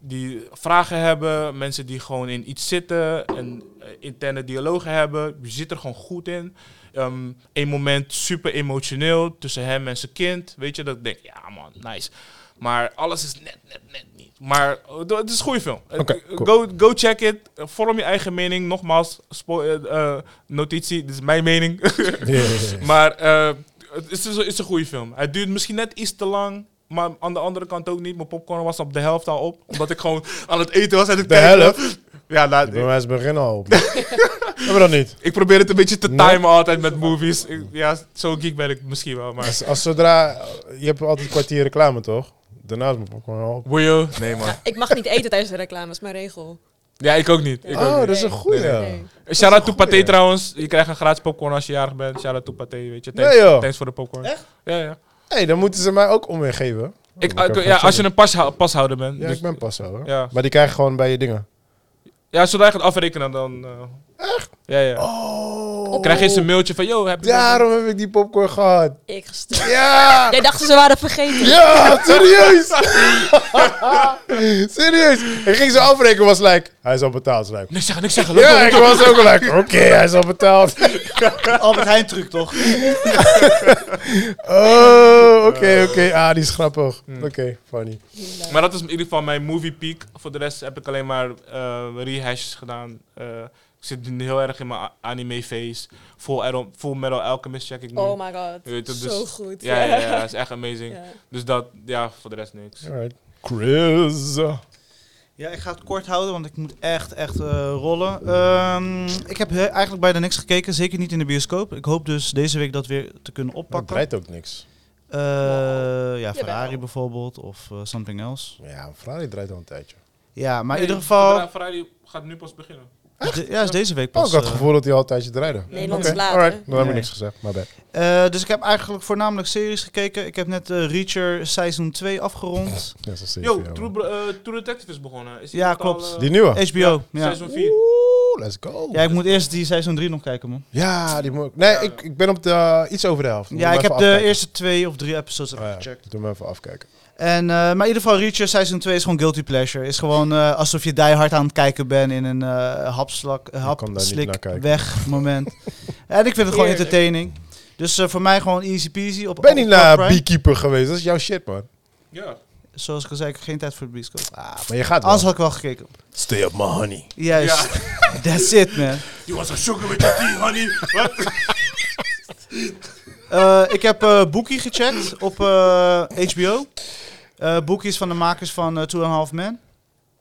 die vragen hebben, mensen die gewoon in iets zitten en eh, interne dialogen hebben. Je zit er gewoon goed in. Ehm Eén moment super emotioneel tussen hem en zijn kind, weet je? Dat ik denk, ja man, nice. Maar alles is net, net, net niet. Maar eh, het is een goede film. Eh,
Oké, cool.
go, go check it. Eh, Vorm je eigen mening. Nogmaals, spo- eh, eh, notitie, dit is mijn mening.
Ja, ja, ja.
Maar eh, het is, het is een goede film. Het duurt misschien net iets te lang. Maar aan de andere kant ook niet. Mijn popcorn was op de helft al op. Omdat ik gewoon aan het eten was en het
De
kijken.
helft?
Ja, nou,
Bij
ik,
mij is het begin al op. Hebben we dat niet?
ik probeer het een beetje te
Nee.
timen altijd met movies. Ik- ja, zo geek ben ik misschien wel. Maar
Als, als zodra... Je hebt altijd een kwartier reclame, toch? Daarna is mijn popcorn al op.
Wil je? Nee, man.
Ik mag niet eten tijdens de reclame, is mijn regel.
Ja, ik ook niet. Ik ook
Oh,
niet.
dat is een goeie.
Nee,
Nee.
Shout out to Pathé
goeie.
trouwens. Je krijgt een gratis popcorn als je jarig bent. Shout out to Pathé, weet je. Thanks,
Nee, joh.
thanks voor de popcorn.
Echt?
Ja, ja.
hey, dan moeten ze mij ook omweg geven.
Ik,
Dan moet
ik-
even
ja,
gaan
als je
checken.
een pasha- pashouder bent.
Ja,
dus-
ik ben pas zo, hoor.
Ja.
Maar die krijg je gewoon bij je dingen.
ja, zodra je gaat afrekenen, dan... Echt? Ja, ja.
Oh.
Krijg je eens een mailtje van, yo, heb je...
Daarom heb ik die popcorn gehad.
Ik gestuurd.
Ja!
Jij dacht ze waren vergeten.
Ja, serieus! serieus! Ik ging zo afrekenen, was like, hij is al betaald. was Like,
Niks zeggen, niks zeggen.
ja, ik was ook like, oké, hij is al betaald.
Albert Heijn truc toch?
Oh, oké, oké. Ah, die is grappig. Oké, funny.
Maar dat is in ieder geval mijn movie peak. Voor de rest heb ik alleen maar eh, rehashes gedaan. Eh, ik zit nu heel erg in mijn a- anime phase. Full, Ero- Full Metal Alchemist check ik nu.
Oh my god.
Je weet het,
Zo
dus-
goed.
ja, ja, ja, dat is echt amazing.
Ja.
Dus dat, ja, voor de rest niks.
Alright. Chris.
Ja, ik ga het kort houden, want ik moet echt, echt eh, rollen. Ehm, ik heb he- eigenlijk bijna niks gekeken, zeker niet in de bioscoop. Ik hoop dus deze week dat weer te kunnen
Dat
oppakken.
draait ook niks.
Eh, ja, Ferrari
Jawel.
bijvoorbeeld of eh, something else.
Ja, Ferrari draait al een tijdje.
Ja, maar in
Nee,
ieder geval...
Ferrari- Ferrari gaat nu pas beginnen.
is de- ja, is deze week
Oh,
pas.
ik had het
eh,
gevoel dat hij al een tijdje draaide.
Nederland
Oké,
is later.
alright. Dan heb
Nee.
ik niks gezegd, maar bad.
eh, dus ik heb eigenlijk voornamelijk series gekeken. Ik heb net eh, Reacher seizoen 2 afgerond.
Ja, zo zie je
Yo,
voor jou.
True, Bro- eh, True Detective is begonnen. Is die
Ja,
echt al,
klopt.
eh,
Die nieuwe?
HBO, ja.
Seizoen 4.
Oeh, let's go.
Ja, ik moet eerst die seizoen 3 nog kijken, man.
Ja, die moet ik... Nee, ik, ik ben op de, eh, iets over de helft. Moet
Ja,
me
ik
even
heb de
afkijken.
eerste twee of drie episodes
Oh ja,
gecheckt.
Doe me even afkijken.
En, eh, maar in ieder geval, Reacher Season 2 is gewoon guilty pleasure. Is gewoon eh, alsof je die hard aan het kijken bent in een eh hapslak,
kan daar niet naar
hapslik
kijken.
weg moment. en ik vind het gewoon
Heerlijk.
entertaining. Dus eh, voor mij gewoon easy peasy. Op,
Ben
op
niet naar
Prime.
Beekeeper geweest. Dat is jouw shit, man.
Ja.
Zoals ik al zei, ik heb geen tijd voor de bioscoop.
Maar je gaat wel.
Anders had ik wel gekeken.
Stay up my honey.
Juist. That's it, man.
You want some sugar with your tea, honey? What?
Eh, ik heb eh Bookie gecheckt op eh, HBO. Eh Bookie is van de makers van eh, Two and a Half Men.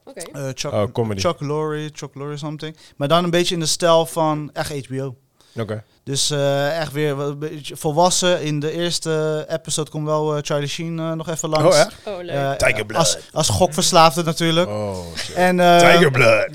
Oké.
Eh Chuck,
Oh, comedy.
Chuck Lorre, Chuck Lorre something. Maar dan een beetje in de stijl van echt HBO.
Oké.
Dus eh, echt weer wat een beetje volwassen. In de eerste episode komt wel eh, Charlie Sheen eh, nog even langs.
Oh, echt?
Oh, leuk.
Eh,
Tiger Blood.
Als, als gokverslaafde natuurlijk.
Oh, shit.
En, eh,
Tiger Blood.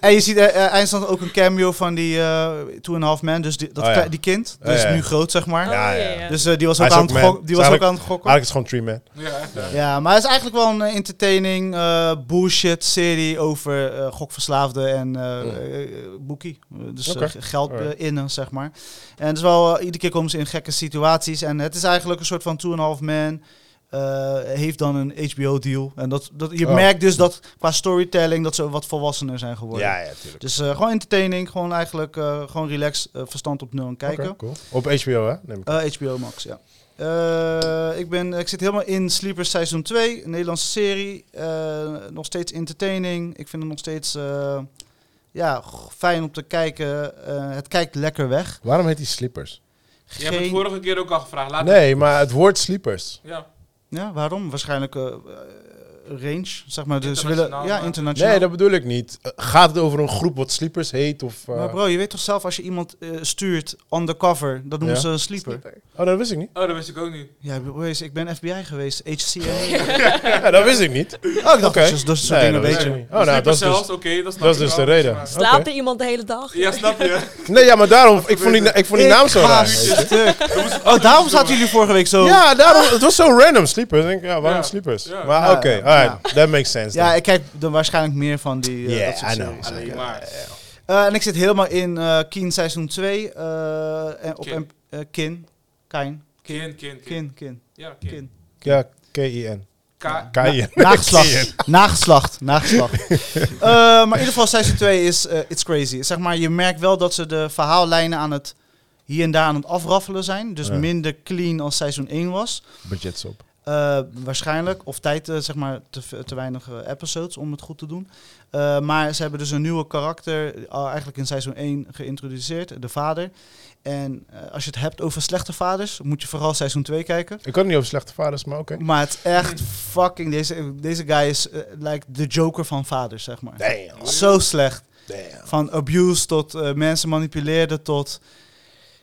en je ziet eh, eh, eindstand ook een cameo van die eh Two and a Half Man. Dus die, dat
Oh, ja.
klei- die kind.
Ja,
Dus
ja.
nu groot, zeg maar.
oh,
ja,
ja,
ja.
ja.
Dus eh, die was,
Hij
ook
is
aan,
ook
het
man.
gok- die was ook aan het gokken.
Eigenlijk is het gewoon Tree Man.
Ja, echt. ja.
Ja, maar het is eigenlijk wel een eh, entertaining eh, bullshit serie over eh, gokverslaafden en eh eh, boekie. Eh, Dus eh,
Mm. Oké.
g- geld eh,
Alright.
innen, zeg maar. En het is wel, eh, iedere keer komen ze in gekke situaties. En het is eigenlijk een soort van two and a half man. eh, heeft dan een HBO-deal. En dat, dat, je
Oh.
merkt dus dat qua storytelling dat ze wat volwassener zijn geworden.
Ja, ja, tuurlijk.
Dus eh, gewoon entertaining, gewoon eigenlijk eh, gewoon relax, eh, verstand op nul en kijken.
Oké, cool. Op HBO, hè? Neem ik.
Eh, HBO Max, ja. Eh, ik, ben, ik zit helemaal in Sleepers seizoen 2, een Nederlandse serie. Eh, nog steeds entertaining. Ik vind het nog steeds eh, ja, g- fijn om te kijken. Eh, het kijkt lekker weg.
Waarom heet die Slippers?
Je hebt het vorige keer ook al gevraagd.
Ah,
Laat
Nee, maar het woord Slippers.
Ja.
Ja, waarom? Waarschijnlijk eh, eh, range, zeg maar. Dus ze willen,
Internationaal,
ja,
maar-
internationaal.
Nee, dat bedoel ik niet. Eh, Gaat het over een groep wat Slippers heet? Of, eh,
Maar bro, je weet toch zelf als je iemand eh, stuurt undercover, dat noemen
Ja.
ze een sleeper.
Oh, dat wist ik niet.
Oh, dat wist ik ook niet.
Ja, wees, ik ben FBI geweest, HCA.
Ja, dat wist ik niet. Oké.
Oh, ik dacht, dat is dat soort dingen
dat
weet
wist
je.
ik niet. Oh, nou, dat
Sleeper
is dus...
cells, oké, dat snap
dat is
ik
dus
wel.
de reden.
Maar-
Slaapt
Oké.
er iemand de hele dag?
Ja, snap je?
Nee, ja, maar daarom... Ik vond die, ik vond die
Ik
naam zo
ga
raar. weet je.
stuk. Oh, daarom zaten jullie vorige week zo.
Ja, daarom, het was zo random, sleepers. Ik denk, ja, waarom
Ja.
sleepers?
Ja.
Maar
Ja,
oké,
ja.
alright, that makes sense.
Ja,
then.
ik kijk dan waarschijnlijk meer van die. eh,
Yeah,
dat soort
I know.
series.
Alleen maar.
Eh, en ik zit helemaal in eh Keen seizoen 2. eh, en op
Kin.
M- eh, Kin. Kain.
Kin, kin, kin.
Kin, Kin.
Ja, kin.
Kin.
ja, K-I-N.
Ka-
K-I-N. Kin.
Nageslacht. Nageslacht. Nageslacht. Eh, maar in ieder geval, seizoen 2 is eh, It's Crazy. Zeg maar, je merkt wel dat ze de verhaallijnen aan het hier en daar aan het afraffelen zijn. Dus
Ja.
minder clean als seizoen 1 was.
Budgets op.
Eh, Eh, waarschijnlijk. Of tijd, eh, zeg maar, te, v- te weinig eh, episodes om het goed te doen. Eh, maar ze hebben dus een nieuwe karakter eh, al eigenlijk in seizoen 1 geïntroduceerd, de vader. En eh, als je het hebt over slechte vaders, moet je vooral seizoen 2 kijken.
Ik kan het niet over slechte vaders, maar oké.
Maar het is echt fucking... Deze, deze guy is eh, lijkt de joker van vaders, zeg maar.
Damn,
Zo slecht.
damn.
Van abuse tot eh, mensen manipuleren tot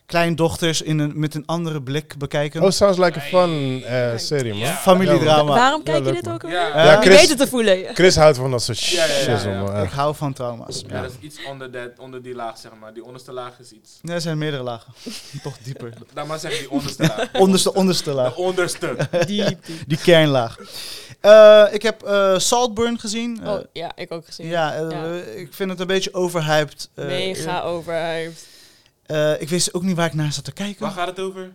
kleindochters in een, met een andere blik bekijken.
Oh, sounds like a fun eh, serie, man.
Ja.
Familiedrama.
Waarom
Ja,
kijk je
leuk,
dit
man.
ook alweer?
Ja.
Eh,
Ja,
Je
Chris- Eh,
weet het te voelen.
Chris houdt van dat soort
Ja, ja, ja,
shizzle,
ja.
man.
Ik hou van trauma's.
Ja, dat is iets onder, dat, onder die laag, zeg maar. Die onderste laag is iets.
Ja, er zijn meerdere lagen. Toch dieper.
Laat maar zeggen, die onderste laag.
Onderste, onderste
De
laag.
onderste.
Diep, diep.
Die kernlaag. Eh, ik heb eh, Saltburn gezien. Eh,
Oh, ja, ik ook gezien.
ja, eh,
ja.
ik vind het een beetje overhyped. Eh,
Mega overhyped.
eh, ik wist ook niet waar ik naar zat te kijken.
Waar gaat het over?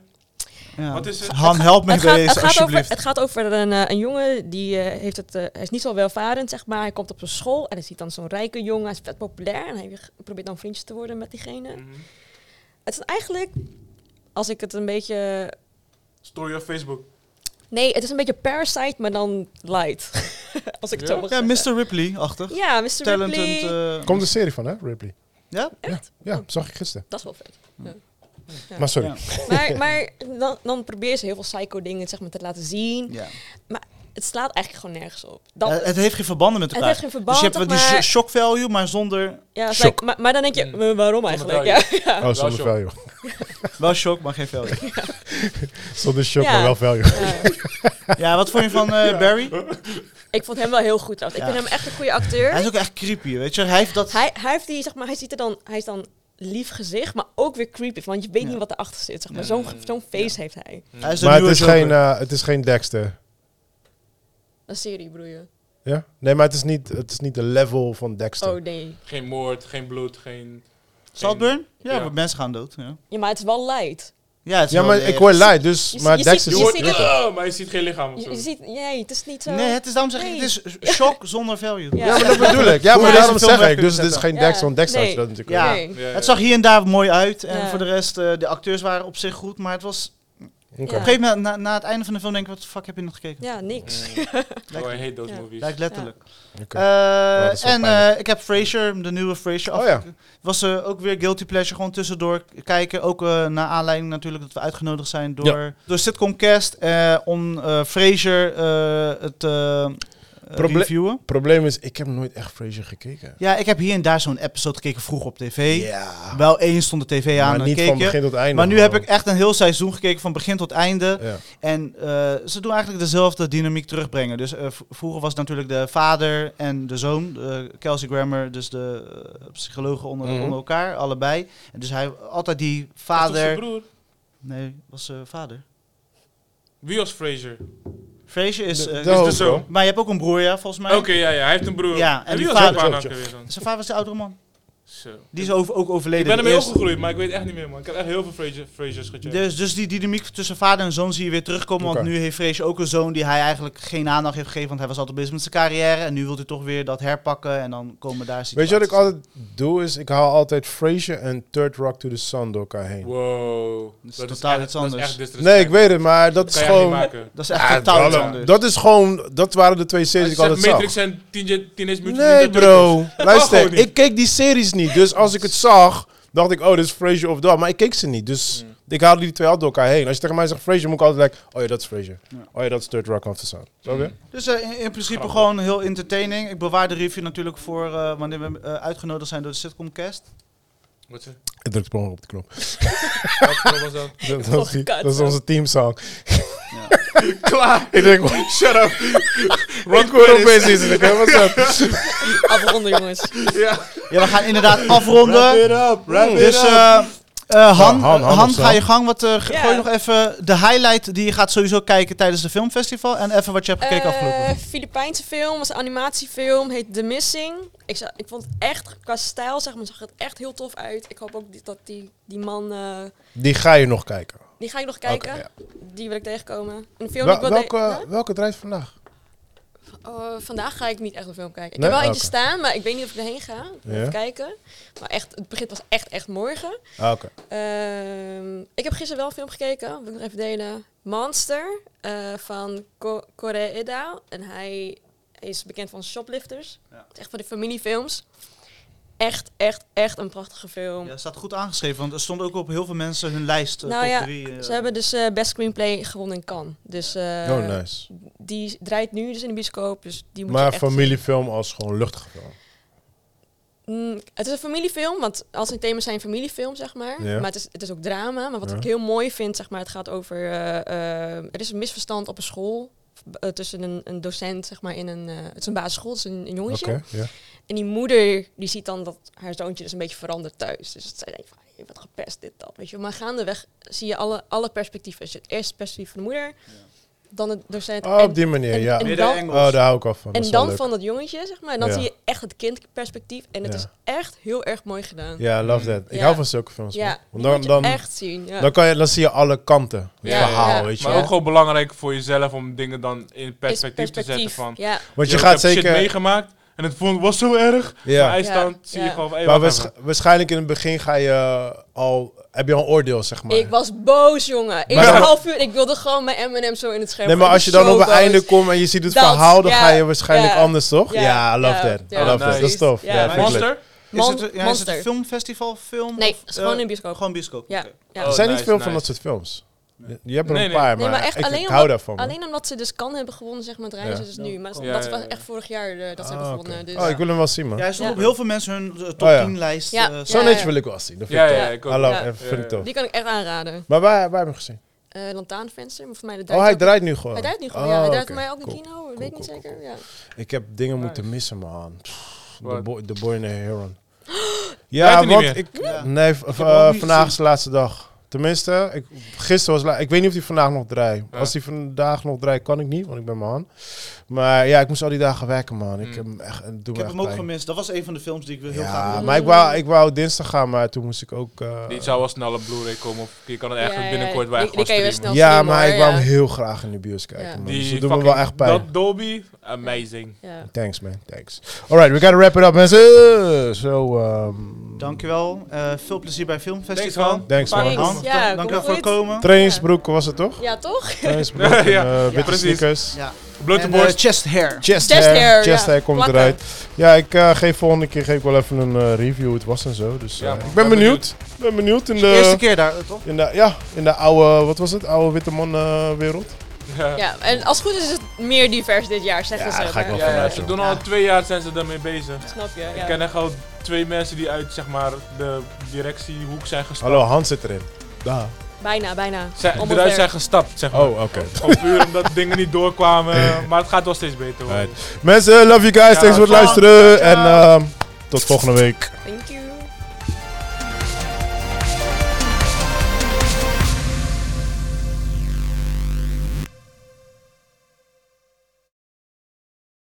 Ja.
Wat is het?
Han, help me
Het gaat,
deze,
het, gaat over,
alsjeblieft.
het gaat over een, eh, een jongen die eh, heeft het, eh, hij is niet zo welvarend, zeg maar. Hij komt op een school en hij ziet dan zo'n rijke jongen. Hij is vet populair en hij probeert dan vriendjes te worden met diegene.
Mhm.
Het is eigenlijk, als ik het een beetje...
Story of Facebook.
Nee, het is een beetje Parasite, maar dan light. als ik het
Ja?
zo mag
Ja,
zeggen.
Mr. Ripley-achtig.
Ja, Mr.
Talented.
Ripley.
eh,
Komt een serie van, hè, Ripley?
ja?
Echt?
Ja, zag ik gisteren.
Dat is wel vet. Ja.
Maar sorry.
Ja.
Maar, maar dan, dan probeer ze heel veel psycho dingen zeg maar, te laten zien.
ja.
Het slaat eigenlijk gewoon nergens op. Dat,
Eh, het heeft geen verbanden met
het
elkaar.
heeft geen verband,
dus je hebt wel die
maar-
sh- shock value, maar zonder...
Ja, het
Shock.
lijkt- maar, maar dan denk je,
Mm.
"Maar waarom eigenlijk? Ja,
duidelijk.
ja.
Oh, zonder
shock.
value.
Wel shock, maar geen value.
Zonder shock,
Ja.
maar wel value.
Ja.
ja, wat vond je van eh, Barry?
ik vond hem wel heel goed trouwens. Ik
Ja.
vind hem echt een goede acteur.
Hij
Hij,
is ook echt creepy, weet je. Hij heeft dat...
hij, heeft die, zeg maar, hij ziet er dan, hij is dan lief gezicht, maar ook weer creepy. Want je weet
Ja.
niet wat erachter zit. Zeg maar.
Ja.
Zo'n ge- zo'n face heeft hij.
Hij is de
Maar het
nieuwe
is,
Joker.
geen, eh, het is geen Dexter.
Een serie bedoel je?
Ja? Nee, maar het is niet, het is niet de level van Dexter.
Oh nee.
Geen moord, geen bloed, geen...
Saltburn? Ja,
Ja.
want mensen gaan dood. Ja,
Ja, maar het is wel light.
ja, het is
ja,
wel
maar
weer-
ik hoor light, dus...
Je
maar
ziet- je
Dexter
ziet-
Je
is-
hoort...
ziet het-
"Ah", maar je ziet geen lichaam of
Je,
zo.
je ziet, nee, het is niet zo...
Nee, het is, daarom zeg ik,
Nee.
het is shock zonder value.
Ja.
Ja, maar dat bedoel ik. Ja,
Hoe
maar
deze
daarom
film
zeg
weg
ik.
kunnen
Dus het is
zetten.
geen
Ja,
Dexter, want Dexter had
nee.
je dat natuurlijk
Ja.
ook.
Nee.
Ja, ja.
Het zag hier en daar mooi uit. En
Ja.
voor de rest, eh, de acteurs waren op zich goed. Maar het was...
Oké.
Ja.
Op een gegeven moment, na, na het einde van de film, denk ik... Wat de fuck heb je nog gekeken?
Ja, niks.
Mm. Oh, I hate those
Ja.
movies.
Lijkt letterlijk.
Oké.
Eh,
dat is wel
en
pijnlijk.
eh, ik heb Frasier, de nieuwe Frasier.
Oh
af-
ja.
Was eh, ook weer Guilty Pleasure, gewoon tussendoor k- kijken. Ook eh, naar aanleiding natuurlijk dat we uitgenodigd zijn door, door Sitcom Cast eh, om eh Frasier eh, het eh, eh,
Proble-
reviewen.
probleem is, ik heb nooit echt Frasier gekeken.
Ja, ik heb hier en daar zo'n episode gekeken vroeg op tv.
Ja.
Wel één stond de tv aan
maar
en
niet
keek
van
je.
begin tot einde.
Maar nu
gewoon.
heb ik echt een heel seizoen gekeken van begin tot einde.
Ja.
En eh, ze doen eigenlijk dezelfde dynamiek terugbrengen. Dus eh, v- vroeger was het natuurlijk de vader en de zoon, eh, Kelsey Grammer, dus de eh, psychologen onder,
Mhm.
onder elkaar, allebei. En dus hij altijd die
Dat was zijn
vader.
broer.
Nee, was zijn vader.
Wie was Fraser?
Fraser is. eh,
de
is
hoofd,
dus-
zo.
maar je hebt ook een broer, ja, volgens mij.
Oké, ja, ja, hij heeft een broer.
Ja, en die
en wie was zijn
vader-
pa nou ook weer dan?
Zijn vader was de oudere man.
Zo.
Die is over, ook overleden.
Ik ben
de
ermee
eerste.
opgegroeid, maar ik weet echt niet meer, man. Ik heb echt heel veel Frasier, Frasers gecheckt.
Dus, dus die dynamiek tussen vader en zoon zie je weer terugkomen.
Oké.
Want nu heeft Vrees ook een zoon die hij eigenlijk geen aandacht heeft gegeven. Want hij was altijd bezig met zijn carrière. En nu wil hij toch weer dat herpakken. En dan komen daar
Weet
situaties.
je wat ik altijd doe? Is ik haal altijd Frasier en Third Rock to the Sun door elkaar heen.
Wow.
is totaal iets anders.
echt disrespect.
Nee, ik weet het, maar dat is
kan je echt niet
gewoon...
maken.
Dat is echt
Ja,
totaal iets
dat-
anders.
dat is gewoon... Dat waren de twee series
Als je
die ik altijd
zegt
zag.
Matrix en Teenage Teenage Mutant
Nee,
Ninja
bro.
gewoon
Luister,
niet.
ik keek die series niet. Dus als ik het zag, dacht ik, oh, dit is Frasier of dat. Maar ik keek ze niet. Dus
Hmm.
ik haalde die twee altijd door elkaar heen. Als je tegen mij zegt Frasier, moet ik altijd like, oh ja, dat is Frasier. Oh ja, dat is Third Rock of the Sun. Zo weer?
Dus eh, in, in principe gewoon heel entertaining. Ik bewaar de review natuurlijk voor eh, wanneer we eh, uitgenodigd zijn door de sitcomcast.
Turtles. Wat zeg je?
Ik druk gewoon op de knop.
Wat- wat was dat?
Dat, dat
Oh,
is, die- dat is onze teamsong.
Klaar.
Ik denk,
Shut up.
Rock World Busy is het. hè? What's up?
Afronden, jongens.
Ja.
Ja, we gaan inderdaad afronden.
up,
Dus eh, eh, Han,
Ja, Han, Han
Han,
of zo.
ga je gang. Wat, eh, ge-
Ja.
Gooi nog even de highlight die je gaat sowieso kijken tijdens de filmfestival. En even wat je hebt gekeken afgelopen.
Eh, Filipijnse film, was een animatiefilm, heet The Missing. Ik, za- ik vond het echt, qua stijl zeg maar, zag het echt heel tof uit. Ik hoop ook die- dat die, die man, eh,
Die ga je nog kijken.
die ga ik nog kijken.
Oké, ja.
Die wil ik tegenkomen. Een film die
Wel-
ik wil
welke,
de-
welke draait vandaag?
Huh? Eh, vandaag ga ik niet echt een film kijken. Ik
Nee?
heb wel eentje
Oké.
staan, maar ik weet niet of ik erheen ga.
Ja.
Even kijken. Maar echt, het begint pas echt, echt morgen.
Ah, Oké.
Ehm, ik heb gisteren wel een film gekeken, wil ik nog even delen. Monster eh, van Ko- Koreeda. En hij is bekend van Shoplifters.
Ja.
Het is echt van die familiefilms. Echt, echt, echt een prachtige film.
Ja, staat goed aangeschreven, want er stond ook op heel veel mensen hun lijst. eh,
Nou
top
ja,
drie, eh.
Ze hebben dus eh, Best Screenplay gewonnen in Cannes. Dus eh,
oh, nice.
die draait nu dus in de bioscoop. Dus die moet je
Maar
echt
familiefilm als gewoon luchtige film.
Mm, het is een familiefilm, want als een thema zijn familiefilm, zeg maar.
Ja.
Maar het is, het is ook drama. Maar wat
Ja.
ik heel mooi vind, zeg maar, het gaat over... eh, eh, er is een misverstand op een school. eh, tussen een, een docent, zeg maar, in een... eh, het is een basisschool, het is een, een
Oké,
jongetje.
ja.
En die moeder, die ziet dan dat haar zoontje dus een beetje verandert thuis. Dus zij denkt van, je wordt gepest, dit, dat, weet je. Maar gaandeweg zie je alle, alle perspectieven. Dus het eerste perspectief van de moeder, dan de docent...
Oh,
en-
op die manier,
en-
ja.
en
Midden
dan-
Engels.
Oh, daar hou ik al van. dat
en
is wel
dan
leuk.
van dat jongetje, zeg maar. En dan
Ja.
zie je echt het kindperspectief. En het
Ja.
is echt heel erg mooi gedaan.
Ja, love
Hmm.
that. Ik
Ja.
hou van zulke films. man.
Ja,
Want
die moet je
dan, dan,
echt zien. Ja.
dan, kan je, dan zie je alle kanten. Het
Ja,
verhaal,
ja.
weet je
Maar
wel.
ook gewoon belangrijk voor jezelf om dingen dan in
Is
perspectief, te zetten. Van,
Ja,
Want je
"Yo, ik
gaat
heb shit
zeker...
meegemaakt en het vond, was zo erg. Maar
Ja.
hij staat,
Ja,
zie je
ja.
gewoon van... hey,
Maar
wacht
waarsch-
even.
waarschijnlijk in het begin ga je al... Heb je al een oordeel, zeg maar.
ik was boos, jongen. Eerst
dan-
een half uur, ik wilde gewoon mijn M&M zo in het scherm.
Nee, maar
gooien.
als je
Ik was
dan op
zo
het einde
boos.
komt en je ziet het
Dat,
verhaal, dan
ja,
ga je waarschijnlijk
ja.
anders, toch? Ja,
Ja,
I love
ja,
that.
ja.
I love that.
Oh,
Dat is
Precies.
tof. Ja,
Ja.
vind ik leuk.
Monster?
Is
Mon-
het, ja, is het
Monster.
een filmfestival, film?
Nee,
of,
het is gewoon
eh,
in de bioscoop.
Gewoon bioscoop.
Ja.
oké.
Ja.
Oh,
er zijn niet
nice,
veel van
nice.
dat soort films. Je- Je hebt er
Nee,
een
nee.
paar,
Nee,
maar,
maar echt
ik,
alleen
ik
omdat-
hou daarvan. man.
Alleen omdat ze dus kan hebben gewonnen, zeg maar, het reizen dus nu. Maar
Ja,
dat
ja,
was
ja.
echt vorig jaar eh, dat ze
Ah,
hebben gewonnen.
oké.
Dus,
Oh, ik wil hem wel zien, man.
Ja, hij stond
Ja.
op heel veel mensen hun eh, top
Oh, ja.
10 lijst.
Ja.
eh,
Zo'n
ja,
eentje
ja.
wil ik wel zien. Dat vind
Ja,
ik
ja,
tof.
ik ook.
I love-
Ja.
eh, vind ik
Ja,
tof.
Die kan ik echt aanraden.
Maar waar, waar heb je hem gezien?
Eh Lantaanvenster, maar voor mij de
Oh, hij draait nu gewoon.
Hij draait nu gewoon,
Oh,
ja. Hij draait
oké.
voor mij ook in
Cool.
kino, weet
cool,
niet
cool,
zeker. Ja.
Ik heb dingen moeten missen, man. Pff, The
Wat?
boy, the boy in the Heron.
Draait
Ja,
hij niet
want
meer?
ik...
Ja.
Nee, v- v-
hem ook
eh,
niet
vandaag
gezien.
is de laatste dag. Tenminste, ik, gisteren was la- Ik weet niet of hij vandaag nog draait.
Ja.
Als hij vandaag nog draait, kan ik niet, want ik ben man. Maar ja, ik moest al die dagen werken, man. Ik
Mm.
heb hem echt... het doet
Ik
me
heb
echt
hem ook
pijn.
gemist. Dat was een van de films die ik wil heel graag
Ja,
wilde.
maar ik wou, ik wou dinsdag gaan, maar toen moest ik ook... eh,
Die zou wel snel op Blu-ray komen. Of je kan het
Ja,
eigenlijk
ja,
binnenkort
ja.
bij
Die-
gewoon
die kan je wel
streamen.
ja,
snel
maar
zien,
ik
hoor,
wou hem
ja.
heel graag in de bios kijken,
Ja.
man.
Die
Dus dat doet me wel
fucking-
echt pijn.
Dat Dolby, amazing.
Ja.
Thanks, man. Thanks. Alright, we gotta wrap it up, mensen. Zo, ehm
Dankjewel. Eh, veel plezier bij Filmfestival.
Thanks,
Thanks,
man.
Thanks.
Hans,
Ja,
dank-
kom
dankjewel voor het
goed.
komen.
Trainingsbroek was het, toch?
Ja, toch?
Trainingsbroek en
Ja,
eh, witte
precies.
sneakers.
Ja.
Blote
En, eh,
borst.
chest hair.
Chest
Chest
hair.
hair,
chest
ja.
hair komt
Plakken.
eruit. Ja, ik eh, geef volgende keer geef ik wel even een eh, review hoe het was en zo. Dus eh,
Ja, man.
ik ben
Ben
benieuwd. Ik ben benieuwd in
Eerste
de,
keer daar, eh, toch?
in de, ja, in de oude, wat was het? Oude witte man eh, wereld.
Ja,
Ja, en als het goed is, is het meer divers dit jaar, zeggen
Ja,
ze.
daar ga ik
maar.
wel
ja,
vanuit,
ze
joh.
doen al twee jaar zijn ze daarmee bezig.
Snap je,
Ik
ja.
ken echt al twee mensen die uit zeg maar, de directiehoek zijn gestapt.
Hallo, Hans zit erin. Daar.
Bijna, bijna.
Zijn,
Om het
eruit
werk.
zijn gestapt, zeg maar.
Oh, oké.
Gewoon puur omdat dingen niet doorkwamen. Maar het gaat wel steeds beter hoor.
Alright. Mensen, love you guys. Thanks voor het
ciao.
luisteren. En ehm, tot volgende week.
Thank you.